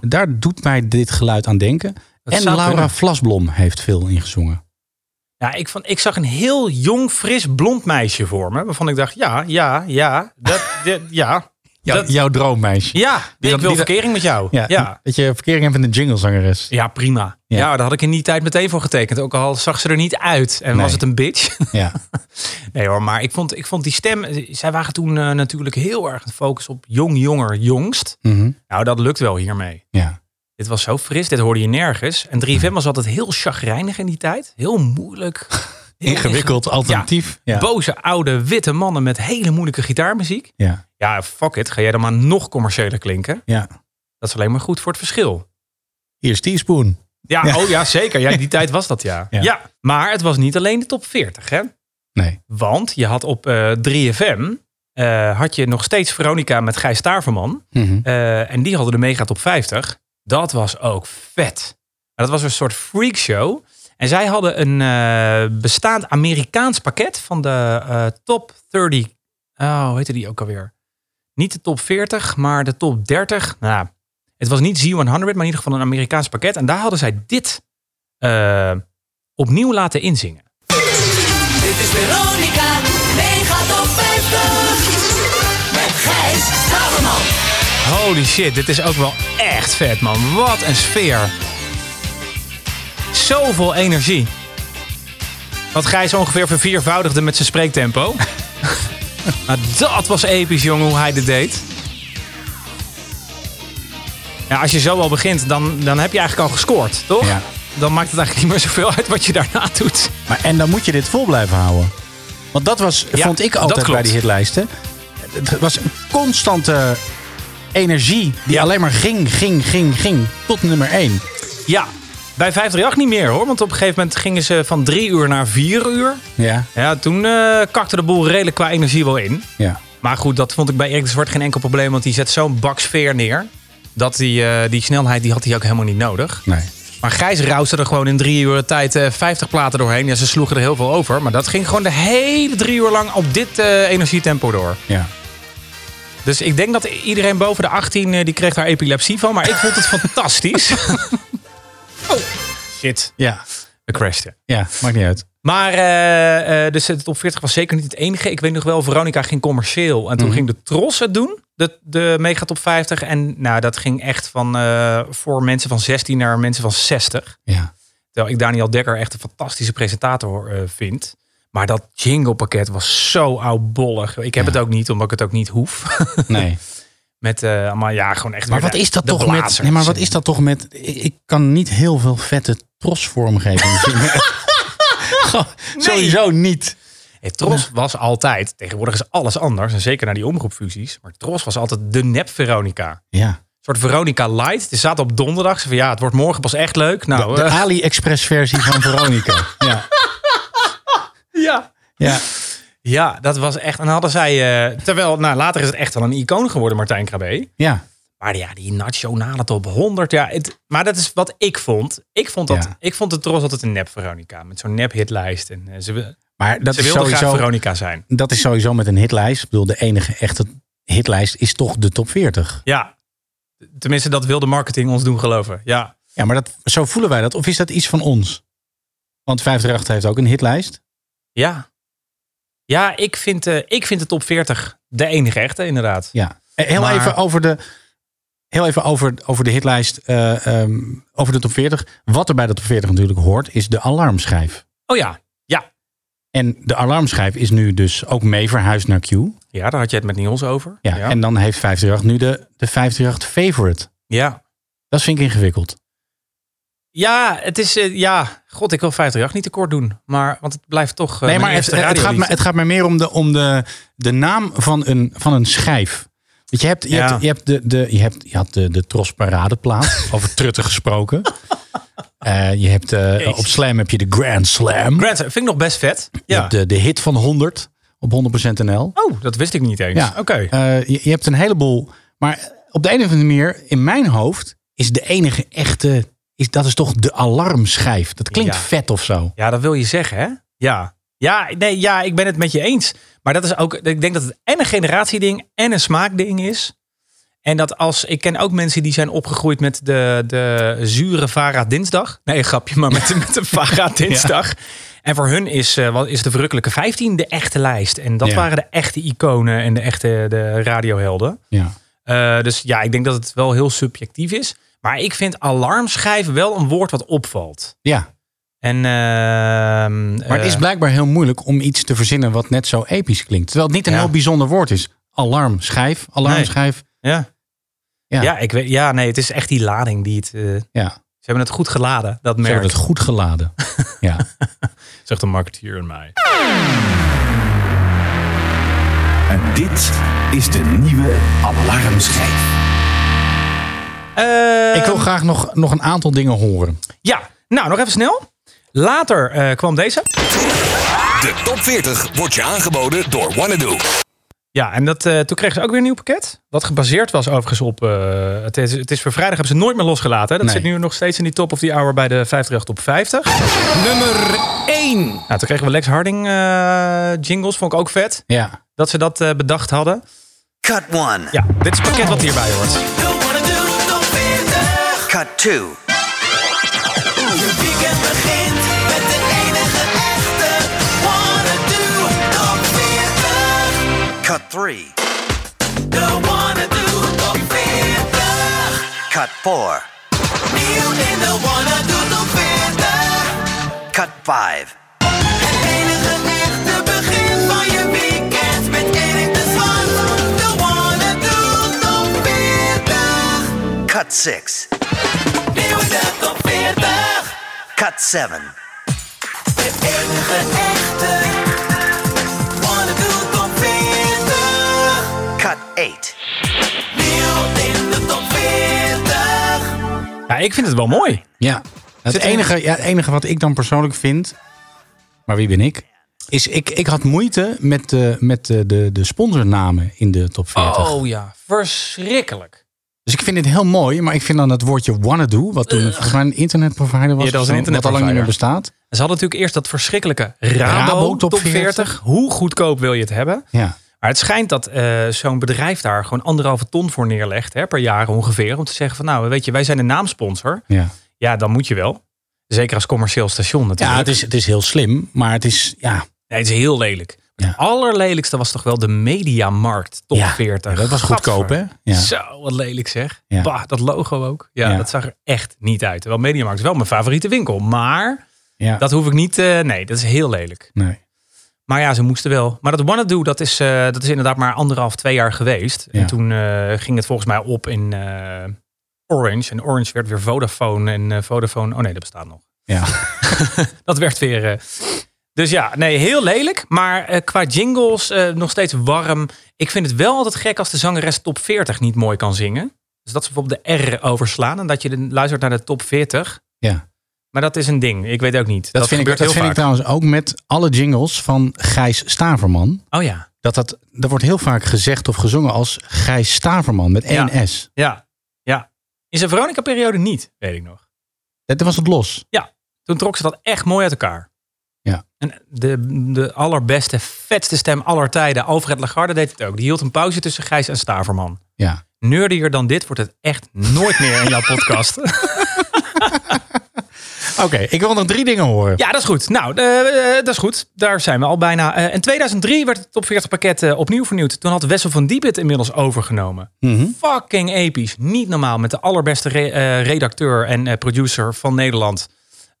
Speaker 3: Daar doet mij dit geluid aan denken.
Speaker 4: Oh. Dat
Speaker 3: en
Speaker 4: zou
Speaker 3: Laura
Speaker 4: kunnen.
Speaker 3: Vlasblom heeft veel ingezongen.
Speaker 4: Ja, ik, vond, ik zag een heel jong, fris, blond meisje voor me. Waarvan ik dacht, ja, ja, ja, dat, dit- ja.
Speaker 3: Jou-
Speaker 4: dat,
Speaker 3: Jouw droommeisje.
Speaker 4: ja, nee, ik
Speaker 3: dat-
Speaker 4: wil
Speaker 3: die dat-
Speaker 4: verkering met jou. Ja, ja.
Speaker 3: Dat je verkering hebt met een jinglezangeres.
Speaker 4: prima. Ja.
Speaker 3: Ja.
Speaker 4: daar had ik in die tijd meteen voor getekend. Ook al zag ze er niet uit en
Speaker 3: Nee.
Speaker 4: was het een bitch.
Speaker 3: Ja.
Speaker 4: Nee hoor, maar ik vond, ik vond die stem... Zij waren toen eh, natuurlijk heel erg de focus op jong, jonger, jongst.
Speaker 3: Mhm.
Speaker 4: Nou, dat lukt wel hiermee.
Speaker 3: Ja.
Speaker 4: Dit was zo fris, dit hoorde je nergens. En 3FM was altijd heel chagrijnig in die tijd. Heel moeilijk. Heel
Speaker 3: Ingewikkeld, alternatief. Ja.
Speaker 4: Boze oude witte mannen met hele moeilijke gitaarmuziek.
Speaker 3: Ja.
Speaker 4: Ja, fuck it. Ga jij dan maar nog commerciëler klinken?
Speaker 3: ja.
Speaker 4: Dat is alleen maar goed voor het verschil.
Speaker 3: Hier is Teaspoon.
Speaker 4: Ja, oh ja, zeker. Ja, die tijd was dat ja. ja.
Speaker 3: Ja.
Speaker 4: maar het was niet alleen de top 40, hè?
Speaker 3: Nee.
Speaker 4: Want je had op eh, 3FM eh, had je nog steeds Veronica met Gijs Staverman.
Speaker 3: Mhm.
Speaker 4: Eh, en die hadden de mega top 50. Dat was ook vet. Maar dat was een soort freakshow. En zij hadden een eh, bestaand Amerikaans pakket van de eh, top 30. Oh, hoe heette die ook alweer? Niet de top 40, maar de top 30. Nou, het was niet Z100, maar in ieder geval een Amerikaans pakket. En daar hadden zij dit eh, opnieuw laten inzingen.
Speaker 7: Dit is Veronica, mega top 50. Met Gijs Staverman.
Speaker 4: Holy shit, dit is ook wel echt vet, man. Wat een sfeer. Zoveel energie. Wat Gijs ongeveer verviervoudigde met zijn spreektempo. maar dat was episch, jongen, hoe hij dit deed. Ja, als je zo al begint, dan, dan heb je eigenlijk al gescoord, toch?
Speaker 3: Ja.
Speaker 4: Dan maakt het eigenlijk niet meer zoveel uit wat je daarna doet.
Speaker 3: Maar, en dan moet je dit vol blijven houden. Want dat was,
Speaker 4: Ja,
Speaker 3: vond ik
Speaker 4: dat
Speaker 3: altijd
Speaker 4: klopt.
Speaker 3: bij die hitlijsten. Het was een constante energie die alleen maar ging, ging, ging, ging. Tot nummer 1.
Speaker 4: Ja, bij 538 niet meer hoor. Want op een gegeven moment gingen ze van drie uur naar vier uur.
Speaker 3: Ja,
Speaker 4: Ja, toen eh, kakte de boel redelijk qua energie wel in.
Speaker 3: ja.
Speaker 4: Maar goed, dat vond ik bij Erik de Zwart geen enkel probleem. Want die zet zo'n bak sfeer neer. Dat die, eh, die snelheid die had hij ook helemaal niet nodig.
Speaker 3: Nee.
Speaker 4: Maar Gijs rauwste er gewoon in drie uur tijd eh 50 platen doorheen. Ja, ze sloegen er heel veel over. Maar dat ging gewoon de hele drie uur lang op dit eh, energietempo door.
Speaker 3: Ja.
Speaker 4: Dus ik denk dat iedereen boven de 18, eh, die kreeg daar epilepsie van. Maar ik vond het fantastisch. oh, shit.
Speaker 3: Ja.
Speaker 4: We crashten.
Speaker 3: Ja, maakt niet uit.
Speaker 4: Maar eh, eh, dus de top 40 was zeker niet het enige. Ik weet nog wel, Veronica ging commercieel. En toen
Speaker 3: Mhm.
Speaker 4: ging de Tros het doen, de, de mega top 50. En nou, dat ging echt van eh, voor mensen van 16 naar mensen van 60.
Speaker 3: Ja.
Speaker 4: Terwijl ik Daniel Dekker echt een fantastische presentator eh, vind. Maar dat jinglepakket was zo oudbollig. Ik heb het ook niet, omdat ik het ook niet hoef.
Speaker 3: Nee.
Speaker 4: Met, eh, maar ja, gewoon echt
Speaker 3: Maar
Speaker 4: weer
Speaker 3: wat
Speaker 4: de-
Speaker 3: is dat
Speaker 4: de
Speaker 3: toch met...
Speaker 4: blazers.
Speaker 3: Nee, maar wat is dat toch met... Ik, ik kan niet heel veel vette trosvormgeving zien. Goh, Sowieso niet.
Speaker 4: Hey, eh, Tros was altijd, tegenwoordig is alles anders. En zeker na die omroepfusies. Maar Tros was altijd de nep Veronica.
Speaker 3: Ja.
Speaker 4: Een soort Veronica Light. Het zaten op donderdag. Ze van ja, het wordt morgen pas echt leuk. Nou,
Speaker 3: De
Speaker 4: eh,
Speaker 3: AliExpress versie van Veronica. Ja.
Speaker 4: ja.
Speaker 3: Ja.
Speaker 4: ja, dat was echt. En dan hadden zij. eh, terwijl, nou, later is het echt wel een icoon geworden, Martijn Krabbe.
Speaker 3: Ja.
Speaker 4: Maar ja, die nationale top 100. Ja, het, maar dat is wat ik vond. Ik vond, dat,
Speaker 3: Ja.
Speaker 4: ik vond de Tros altijd een nep Veronica. Met zo'n nep hitlijst. En eh, ze, wi-
Speaker 3: Maar dat
Speaker 4: ze
Speaker 3: is
Speaker 4: wilde graag
Speaker 3: sowieso...
Speaker 4: Veronica zijn.
Speaker 3: dat is sowieso met een hitlijst. Ik bedoel, de enige echte hitlijst is toch de top 40.
Speaker 4: Ja. Tenminste, dat wil de marketing ons doen geloven. Ja.
Speaker 3: Ja, maar dat, zo voelen wij dat. Of is dat iets van ons? Want 538 heeft ook een hitlijst.
Speaker 4: Ja. Ja, ik vind, eh, ik vind de top 40 de enige echte, inderdaad.
Speaker 3: Ja. Eh, Heel
Speaker 4: Maar-
Speaker 3: even over de... Heel even over, over de hitlijst, eh, ehm, over de top 40. Wat er bij de top 40 natuurlijk hoort, is de alarmschijf.
Speaker 4: Oh ja. Ja,
Speaker 3: En de alarmschijf is nu dus ook mee verhuisd naar Q. Ja,
Speaker 4: Ja, daar had je het met Niels over. ja.
Speaker 3: En dan heeft 538 nu de, de 538 favorite.
Speaker 4: Ja.
Speaker 3: Dat vind ik ingewikkeld.
Speaker 6: Ja, het is... eh, ja, god, ik wil 538 niet tekort doen. Maar, want het blijft toch... eh,
Speaker 3: nee, maar
Speaker 6: mijn
Speaker 3: het,
Speaker 6: eerste
Speaker 3: het, gaat
Speaker 6: radiolied.
Speaker 3: me, het gaat mij meer om de, om de, de naam van een, van een schijf. Want je, hebt, je,
Speaker 6: Ja.
Speaker 3: hebt, je, hebt de, de, je, hebt, je had de, de Tros Paradeplaat, over trutten gesproken. Eh, je hebt, eh, op Slam heb je de Grand Slam.
Speaker 6: Grand Slam, vind ik nog best vet.
Speaker 3: Je
Speaker 6: Ja.
Speaker 3: hebt de, de hit van 100 op 100% NL.
Speaker 6: Oh, dat wist ik niet eens.
Speaker 3: Ja,
Speaker 6: Oké.
Speaker 3: Eh, je, je hebt een heleboel. Maar op de een of andere manier, in mijn hoofd, is de enige echte. Is, dat is toch de alarmschijf. Dat klinkt
Speaker 6: Ja.
Speaker 3: vet of zo.
Speaker 6: Ja, dat wil je zeggen, hè? Ja. Ja, nee, ja, ik ben het met je eens. Maar dat is ook, ik denk dat het en een generatieding en een smaakding is. En dat als, ik ken ook mensen die zijn opgegroeid met de, de zure Vara Dinsdag. Nee, een grapje, maar met, de- met de Vara Dinsdag. En voor hun is, eh, wat is de verrukkelijke 15 de echte lijst. En dat
Speaker 3: Ja.
Speaker 6: waren de echte iconen en de echte de radiohelden.
Speaker 3: Ja.
Speaker 6: Eh, dus ja, ik denk dat het wel heel subjectief is. Maar ik vind alarmschijf wel een woord wat opvalt.
Speaker 3: ja.
Speaker 6: En, eh, ehm,
Speaker 3: Maar het is blijkbaar heel moeilijk om iets te verzinnen wat net zo episch klinkt. Terwijl het niet een
Speaker 6: Ja.
Speaker 3: heel bijzonder woord is. Alarmschijf, alarmschijf.
Speaker 6: eh, Ja.
Speaker 3: Ja.
Speaker 6: Ja. ik weet, ja, nee, het is echt die lading die het. eh,
Speaker 3: Ja.
Speaker 6: Ze hebben het goed geladen, dat
Speaker 3: Ze
Speaker 6: merk.
Speaker 3: hebben het goed geladen. ja.
Speaker 12: Zegt de marketeer in mij.
Speaker 8: En dit is de nieuwe alarmschijf.
Speaker 6: Eh,
Speaker 3: Ik wil graag nog, nog een aantal dingen horen.
Speaker 6: Ja, nou, nog even snel. Later eh, kwam deze.
Speaker 13: De top 40 wordt je aangeboden door Wanadoo.
Speaker 6: Ja, en dat, eh, toen kregen ze ook weer een nieuw pakket. Wat gebaseerd was overigens op... eh, het, is, het is voor vrijdag, hebben ze nooit meer losgelaten. Hè? Dat
Speaker 3: Nee.
Speaker 6: zit nu nog steeds in die top of the hour bij de 538 op 50. Nummer 1. Nou, toen kregen we Lex Harding eh, jingles, vond ik ook vet.
Speaker 3: Ja.
Speaker 6: Dat ze dat eh, bedacht hadden.
Speaker 4: Cut 1.
Speaker 6: Ja, dit is het pakket wat hierbij hoort.
Speaker 4: Cut 2.
Speaker 7: Je weekend begint met de enige echte Wanna Do Top 40.
Speaker 4: Cut 3.
Speaker 7: De Wanna Do Top 40.
Speaker 4: Cut 4.
Speaker 7: Nieuw in de Wanna Do Top 40.
Speaker 4: Cut 5.
Speaker 7: Het enige echte begin van je weekend met Erik de Zwart. De Wanna Do Top 40.
Speaker 4: Cut 6.
Speaker 7: Nieuw in de Top 40.
Speaker 4: Cut 7.
Speaker 7: De enige echte. Wanna do top 40.
Speaker 4: Cut 8.
Speaker 7: Nieuw in de top 40.
Speaker 6: Ja, ik vind het wel mooi.
Speaker 3: Ja. Het
Speaker 6: Zit er-
Speaker 3: enige, ja, het enige wat ik dan persoonlijk vind. Maar wie ben ik? Is ik, ik had moeite met, de, met de, de, de sponsornamen in de top 40.
Speaker 6: Oh ja, verschrikkelijk.
Speaker 3: Dus ik vind dit heel mooi, maar ik vind dan het woordje wanna do, wat toen volgens mij een internetprovider was,
Speaker 6: Eh. Ja, dat was
Speaker 3: of
Speaker 6: een
Speaker 3: zo, wat al lang niet meer
Speaker 6: internetprovider.
Speaker 3: bestaat.
Speaker 6: Ze hadden natuurlijk eerst dat verschrikkelijke Rabo,
Speaker 3: Rabo
Speaker 6: top,
Speaker 3: top
Speaker 6: 40.
Speaker 3: 40.
Speaker 6: Hoe goedkoop wil je het hebben?
Speaker 3: Ja.
Speaker 6: Maar het schijnt dat eh, zo'n bedrijf daar gewoon anderhalve ton voor neerlegt hè, per jaar ongeveer. Om te zeggen van nou, weet je, wij zijn een naamsponsor.
Speaker 3: Ja.
Speaker 6: Ja, dan moet je wel. Zeker als commercieel station natuurlijk.
Speaker 3: Ja, het is, het is heel slim, maar het is, ja,
Speaker 6: Nee, het is heel lelijk. Het allerlelijkste was toch wel de Mediamarkt top
Speaker 3: Ja,
Speaker 6: 40.
Speaker 3: dat was
Speaker 6: Gadver.
Speaker 3: goedkoop, hè? Ja.
Speaker 6: Zo, wat lelijk zeg.
Speaker 3: Ja.
Speaker 6: Bah, dat logo ook. Ja,
Speaker 3: Ja.
Speaker 6: dat zag er echt niet uit. Wel, Mediamarkt is wel mijn favoriete winkel. Maar
Speaker 3: ja,
Speaker 6: dat hoef ik niet... eh, nee, dat is heel lelijk.
Speaker 3: nee.
Speaker 6: Maar ja, ze moesten wel. Maar dat Wanna Do, dat is, eh, dat is inderdaad maar anderhalf, twee jaar geweest.
Speaker 3: Ja.
Speaker 6: En toen eh, ging het volgens mij op in eh, Orange. En Orange werd weer Vodafone. En eh, Vodafone, oh nee, dat bestaat nog.
Speaker 3: Ja.
Speaker 6: Dat werd weer... eh, dus ja, nee, heel lelijk. Maar eh, qua jingles eh, nog steeds warm. Ik vind het wel altijd gek als de zangeres top 40 niet mooi kan zingen. Dus dat ze bijvoorbeeld de R overslaan. En dat je dan luistert naar de top 40.
Speaker 3: Ja.
Speaker 6: Maar dat is een ding. Ik weet ook niet. Dat,
Speaker 3: Dat, vind, ik,
Speaker 6: gebeurt
Speaker 3: dat
Speaker 6: heel
Speaker 3: vind ik
Speaker 6: vaak.
Speaker 3: trouwens ook met alle jingles van Gijs Staverman.
Speaker 6: Oh ja.
Speaker 3: Dat, dat, dat wordt heel vaak gezegd of gezongen als Gijs Staverman met één
Speaker 6: Ja.
Speaker 3: S.
Speaker 6: Ja, ja. In zijn Veronica-periode niet, weet ik nog.
Speaker 3: Dat was het los.
Speaker 6: Ja, toen trok ze dat echt mooi uit elkaar.
Speaker 3: Ja.
Speaker 6: En de, de allerbeste, vetste stem aller tijden, Alfred Lagarde, deed het ook. Die hield een pauze tussen Gijs en Staverman.
Speaker 3: Ja.
Speaker 6: Nerdier dan dit wordt het echt nooit meer in jouw podcast.
Speaker 3: Oké, ik wil nog drie dingen horen.
Speaker 6: Ja, dat is goed. Nou, eh, eh, dat is goed. Daar zijn we al bijna. Eh, in 2003 werd het top 40 pakket eh, opnieuw vernieuwd. Toen had Wessel van Diep het inmiddels overgenomen.
Speaker 3: Mhm.
Speaker 6: Fucking episch. Niet normaal. Met de allerbeste re- eh, redacteur en eh, producer van Nederland.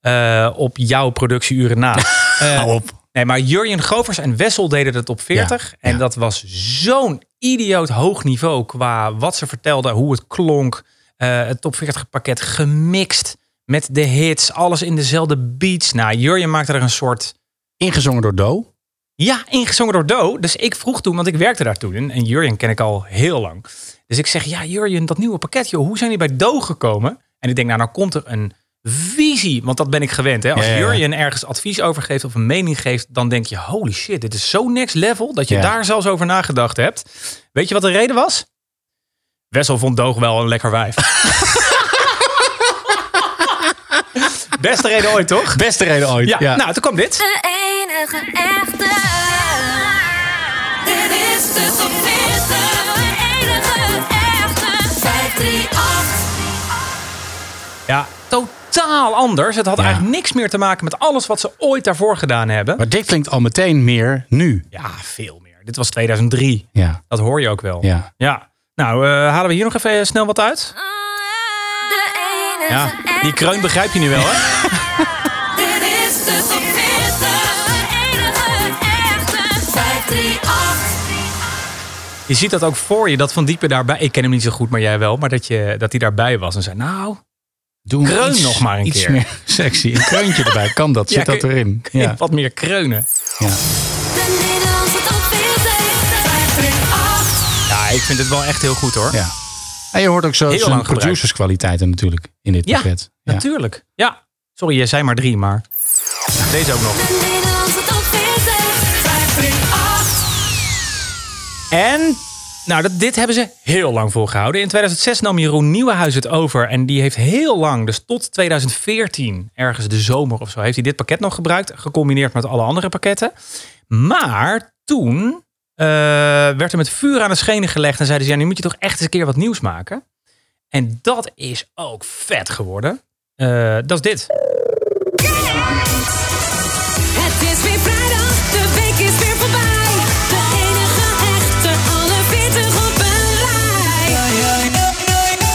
Speaker 6: eh, op jouw productieuren na. Eh,
Speaker 3: Hou op.
Speaker 6: Nee, maar Jurjen Govers en Wessel deden het op 40.
Speaker 3: Ja,
Speaker 6: en
Speaker 3: ja.
Speaker 6: dat was zo'n idioot hoog niveau qua wat ze vertelden, hoe het klonk. Eh, het top 40 pakket gemixt Met de hits, alles in dezelfde beats. Nou, Jurjen maakte er een soort...
Speaker 3: Ingezongen door Do?
Speaker 6: Ja, ingezongen door Do. Dus ik vroeg toen, want ik werkte daar toen. En, en Jurjen ken ik al heel lang. Dus ik zeg, ja Jurjen, dat nieuwe pakket, joh. Hoe zijn die bij Do gekomen? En ik denk, nou, nou komt er een visie. Want dat ben ik gewend, hè. Als
Speaker 3: Ja, ja, ja.
Speaker 6: Jurjen ergens advies over geeft of een mening geeft... dan denk je, holy shit, dit is zo next level... dat je
Speaker 3: Ja.
Speaker 6: daar zelfs over nagedacht hebt. Weet je wat de reden was? Wessel vond Doog wel een lekker wijf. Beste reden ooit, toch?
Speaker 3: Beste reden ooit.
Speaker 6: Ja,
Speaker 3: ja.
Speaker 6: nou, toen kwam dit.
Speaker 7: De enige echte. Dit is de top 40. De enige echte. 538.
Speaker 6: Ja, totaal anders. Het had eigenlijk niks meer te maken met alles wat ze ooit daarvoor gedaan hebben.
Speaker 3: Maar dit klinkt al meteen meer nu.
Speaker 6: Ja, veel meer. Dit was 2003.
Speaker 3: Ja.
Speaker 6: Dat hoor je ook wel.
Speaker 3: Ja.
Speaker 6: Nou, eh, halen we hier nog even snel wat uit?
Speaker 7: De enige
Speaker 6: Ja, die kreun begrijp je nu wel, hè?
Speaker 7: Dit is de top 40. De enige echte. 538.
Speaker 6: Je ziet dat ook voor je, dat Van Diepen daarbij... Ik ken hem niet zo goed, maar jij wel. Maar dat hij dat die daarbij was en zei, nou...
Speaker 3: Doe
Speaker 6: kreun
Speaker 3: iets-
Speaker 6: nog maar een
Speaker 3: iets
Speaker 6: keer.
Speaker 3: meer sexy. Een kreuntje erbij. Kan dat?
Speaker 6: Ja,
Speaker 3: Zit dat
Speaker 6: kun-
Speaker 3: erin?
Speaker 6: kun je
Speaker 3: Ja.
Speaker 6: Wat meer kreunen.
Speaker 7: De Nederlandse top 40. 538.
Speaker 6: Ja, ik vind het wel echt heel goed, hoor.
Speaker 3: Ja. En je hoort ook zo
Speaker 6: Heel
Speaker 3: zijn
Speaker 6: lang gebruikt.
Speaker 3: producerskwaliteiten natuurlijk in dit
Speaker 6: Ja,
Speaker 3: pakket. Ja.
Speaker 6: natuurlijk. Ja. Sorry, jij zei maar drie, maar... Deze ook nog.
Speaker 7: De Nederlandse top 40. 538.
Speaker 6: En nou, dat, dit hebben ze heel lang volgehouden. In 2006 nam Jeroen Nieuwenhuis het over. En die heeft heel lang, dus tot 2014, ergens de zomer of zo, heeft hij dit pakket nog gebruikt. Gecombineerd met alle andere pakketten. Maar toen eh, werd er met vuur aan de schenen gelegd. En zeiden ze, ja, nu moet je toch echt eens een keer wat nieuws maken. En dat is ook vet geworden. Eh, dat is dit.
Speaker 7: Het is weer vrijdag, de week is weer voorbij. De enige echte, alle 40 op een rij.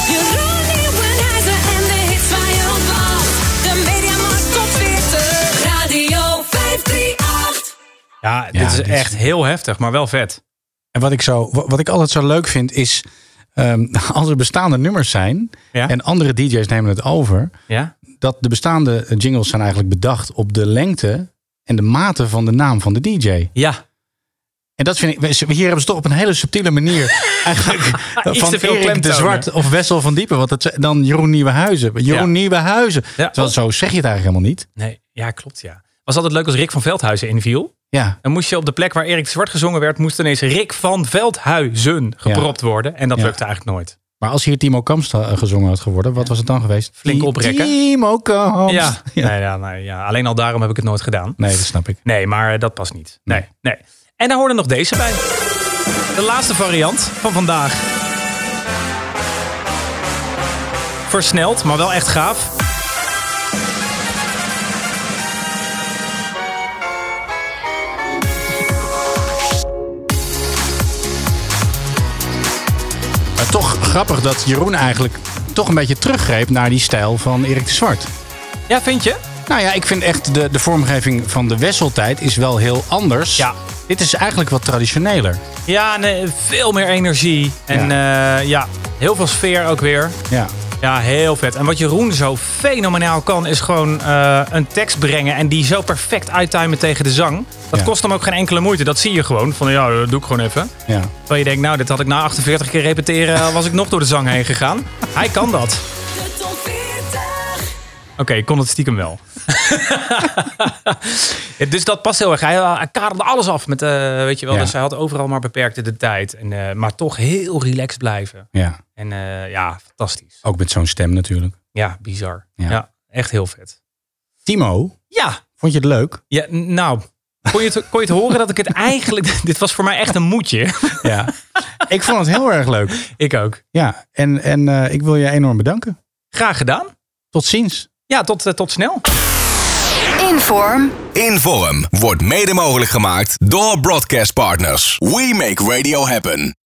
Speaker 7: Jeroen Nieuwenhuizen en de hits waar je op wacht. De Mediamarkt Top 40, Radio 538.
Speaker 6: Ja, dit
Speaker 3: Ja,
Speaker 6: is
Speaker 3: dit is-
Speaker 6: echt heel heftig, maar wel vet.
Speaker 3: En wat ik, zo, wa- wat ik altijd zo leuk vind is... ehm, als er bestaande nummers zijn
Speaker 6: Ja.
Speaker 3: en andere DJ's nemen het over...
Speaker 6: Ja?
Speaker 3: dat de bestaande jingles zijn eigenlijk bedacht op de lengte en de mate van de naam van de DJ.
Speaker 6: Ja.
Speaker 3: En dat vind ik, we- hier hebben ze toch op een hele subtiele manier eigenlijk
Speaker 6: Iets
Speaker 3: van
Speaker 6: te veel
Speaker 3: Erik de
Speaker 6: klemtonen.
Speaker 3: Zwart of Wessel van Diepen, want dat zijn dan Jeroen Nieuwenhuizen. Jeroen
Speaker 6: Ja.
Speaker 3: Nieuwenhuizen.
Speaker 6: Ja.
Speaker 3: Terwijl zo zeg je het eigenlijk helemaal niet.
Speaker 6: Nee, ja, klopt, ja. Was altijd leuk als Rick van Veldhuizen inviel.
Speaker 3: Ja,
Speaker 6: Dan moest je op de plek waar Erik de Zwart gezongen werd, moest ineens Rick van Veldhuizen gepropt worden. En dat
Speaker 3: Ja.
Speaker 6: lukte eigenlijk nooit.
Speaker 3: maar als hier Timo Kamst eh, gezongen had geworden, wat was het dan geweest?
Speaker 6: Flink
Speaker 3: Ti-
Speaker 6: oprekken.
Speaker 3: Timo Kamst.
Speaker 6: Ja, Nee, ja, nee, ja, alleen al daarom heb ik het nooit gedaan.
Speaker 3: Nee, dat snap ik.
Speaker 6: Nee, maar eh, dat past niet. Nee, nee. En daar hoorde nog deze bij. De laatste variant van vandaag. Versneld, maar wel echt gaaf.
Speaker 3: Maar toch grappig dat Jeroen eigenlijk toch een beetje teruggreep naar die stijl van Erik de Zwart.
Speaker 6: Ja, vind je?
Speaker 3: Nou ja, ik vind echt de, de vormgeving van de Wesseltijd is wel heel anders.
Speaker 6: Ja.
Speaker 3: Dit is eigenlijk wat traditioneler.
Speaker 6: Ja, nee, veel meer energie. En ja. ja, heel veel sfeer ook weer.
Speaker 3: Ja.
Speaker 6: Ja, heel vet. En wat Jeroen zo fenomenaal kan, is gewoon eh, een tekst brengen en die zo perfect uittimen tegen de zang. Dat
Speaker 3: Ja.
Speaker 6: kost hem ook geen enkele moeite. Dat zie je gewoon. Van ja, dat doe ik gewoon even.
Speaker 3: Ja.
Speaker 6: Terwijl je denkt, nou, dit had ik na 48 keer repeteren, eh, was ik nog door de zang heen gegaan. Hij kan dat.
Speaker 7: De top 40.
Speaker 6: Oké, ik kon het stiekem wel. Ja, dus dat past heel erg. Hij, eh, hij kaderde alles af met, eh, weet je wel.
Speaker 3: Ja.
Speaker 6: Dus hij had overal maar beperkte de tijd. En, eh, maar toch heel relaxed blijven.
Speaker 3: Ja,
Speaker 6: En eh, ja, fantastisch.
Speaker 3: ook met zo'n stem natuurlijk.
Speaker 6: Ja, bizar.
Speaker 3: Ja.
Speaker 6: ja echt heel vet.
Speaker 3: Timo,
Speaker 6: Ja,
Speaker 3: vond je het leuk?
Speaker 6: Ja, n- nou. Kon je, het, kon je het horen dat ik het eigenlijk... Dit was voor mij echt een moedje.
Speaker 3: Ja. ik vond het heel erg leuk.
Speaker 6: Ik ook.
Speaker 3: Ja, en, en eh, ik wil je enorm bedanken.
Speaker 6: Graag gedaan.
Speaker 3: Tot ziens.
Speaker 6: Ja, tot, eh, tot snel.
Speaker 2: Inform.
Speaker 1: Inform wordt mede mogelijk gemaakt door Broadcast Partners. We make radio happen.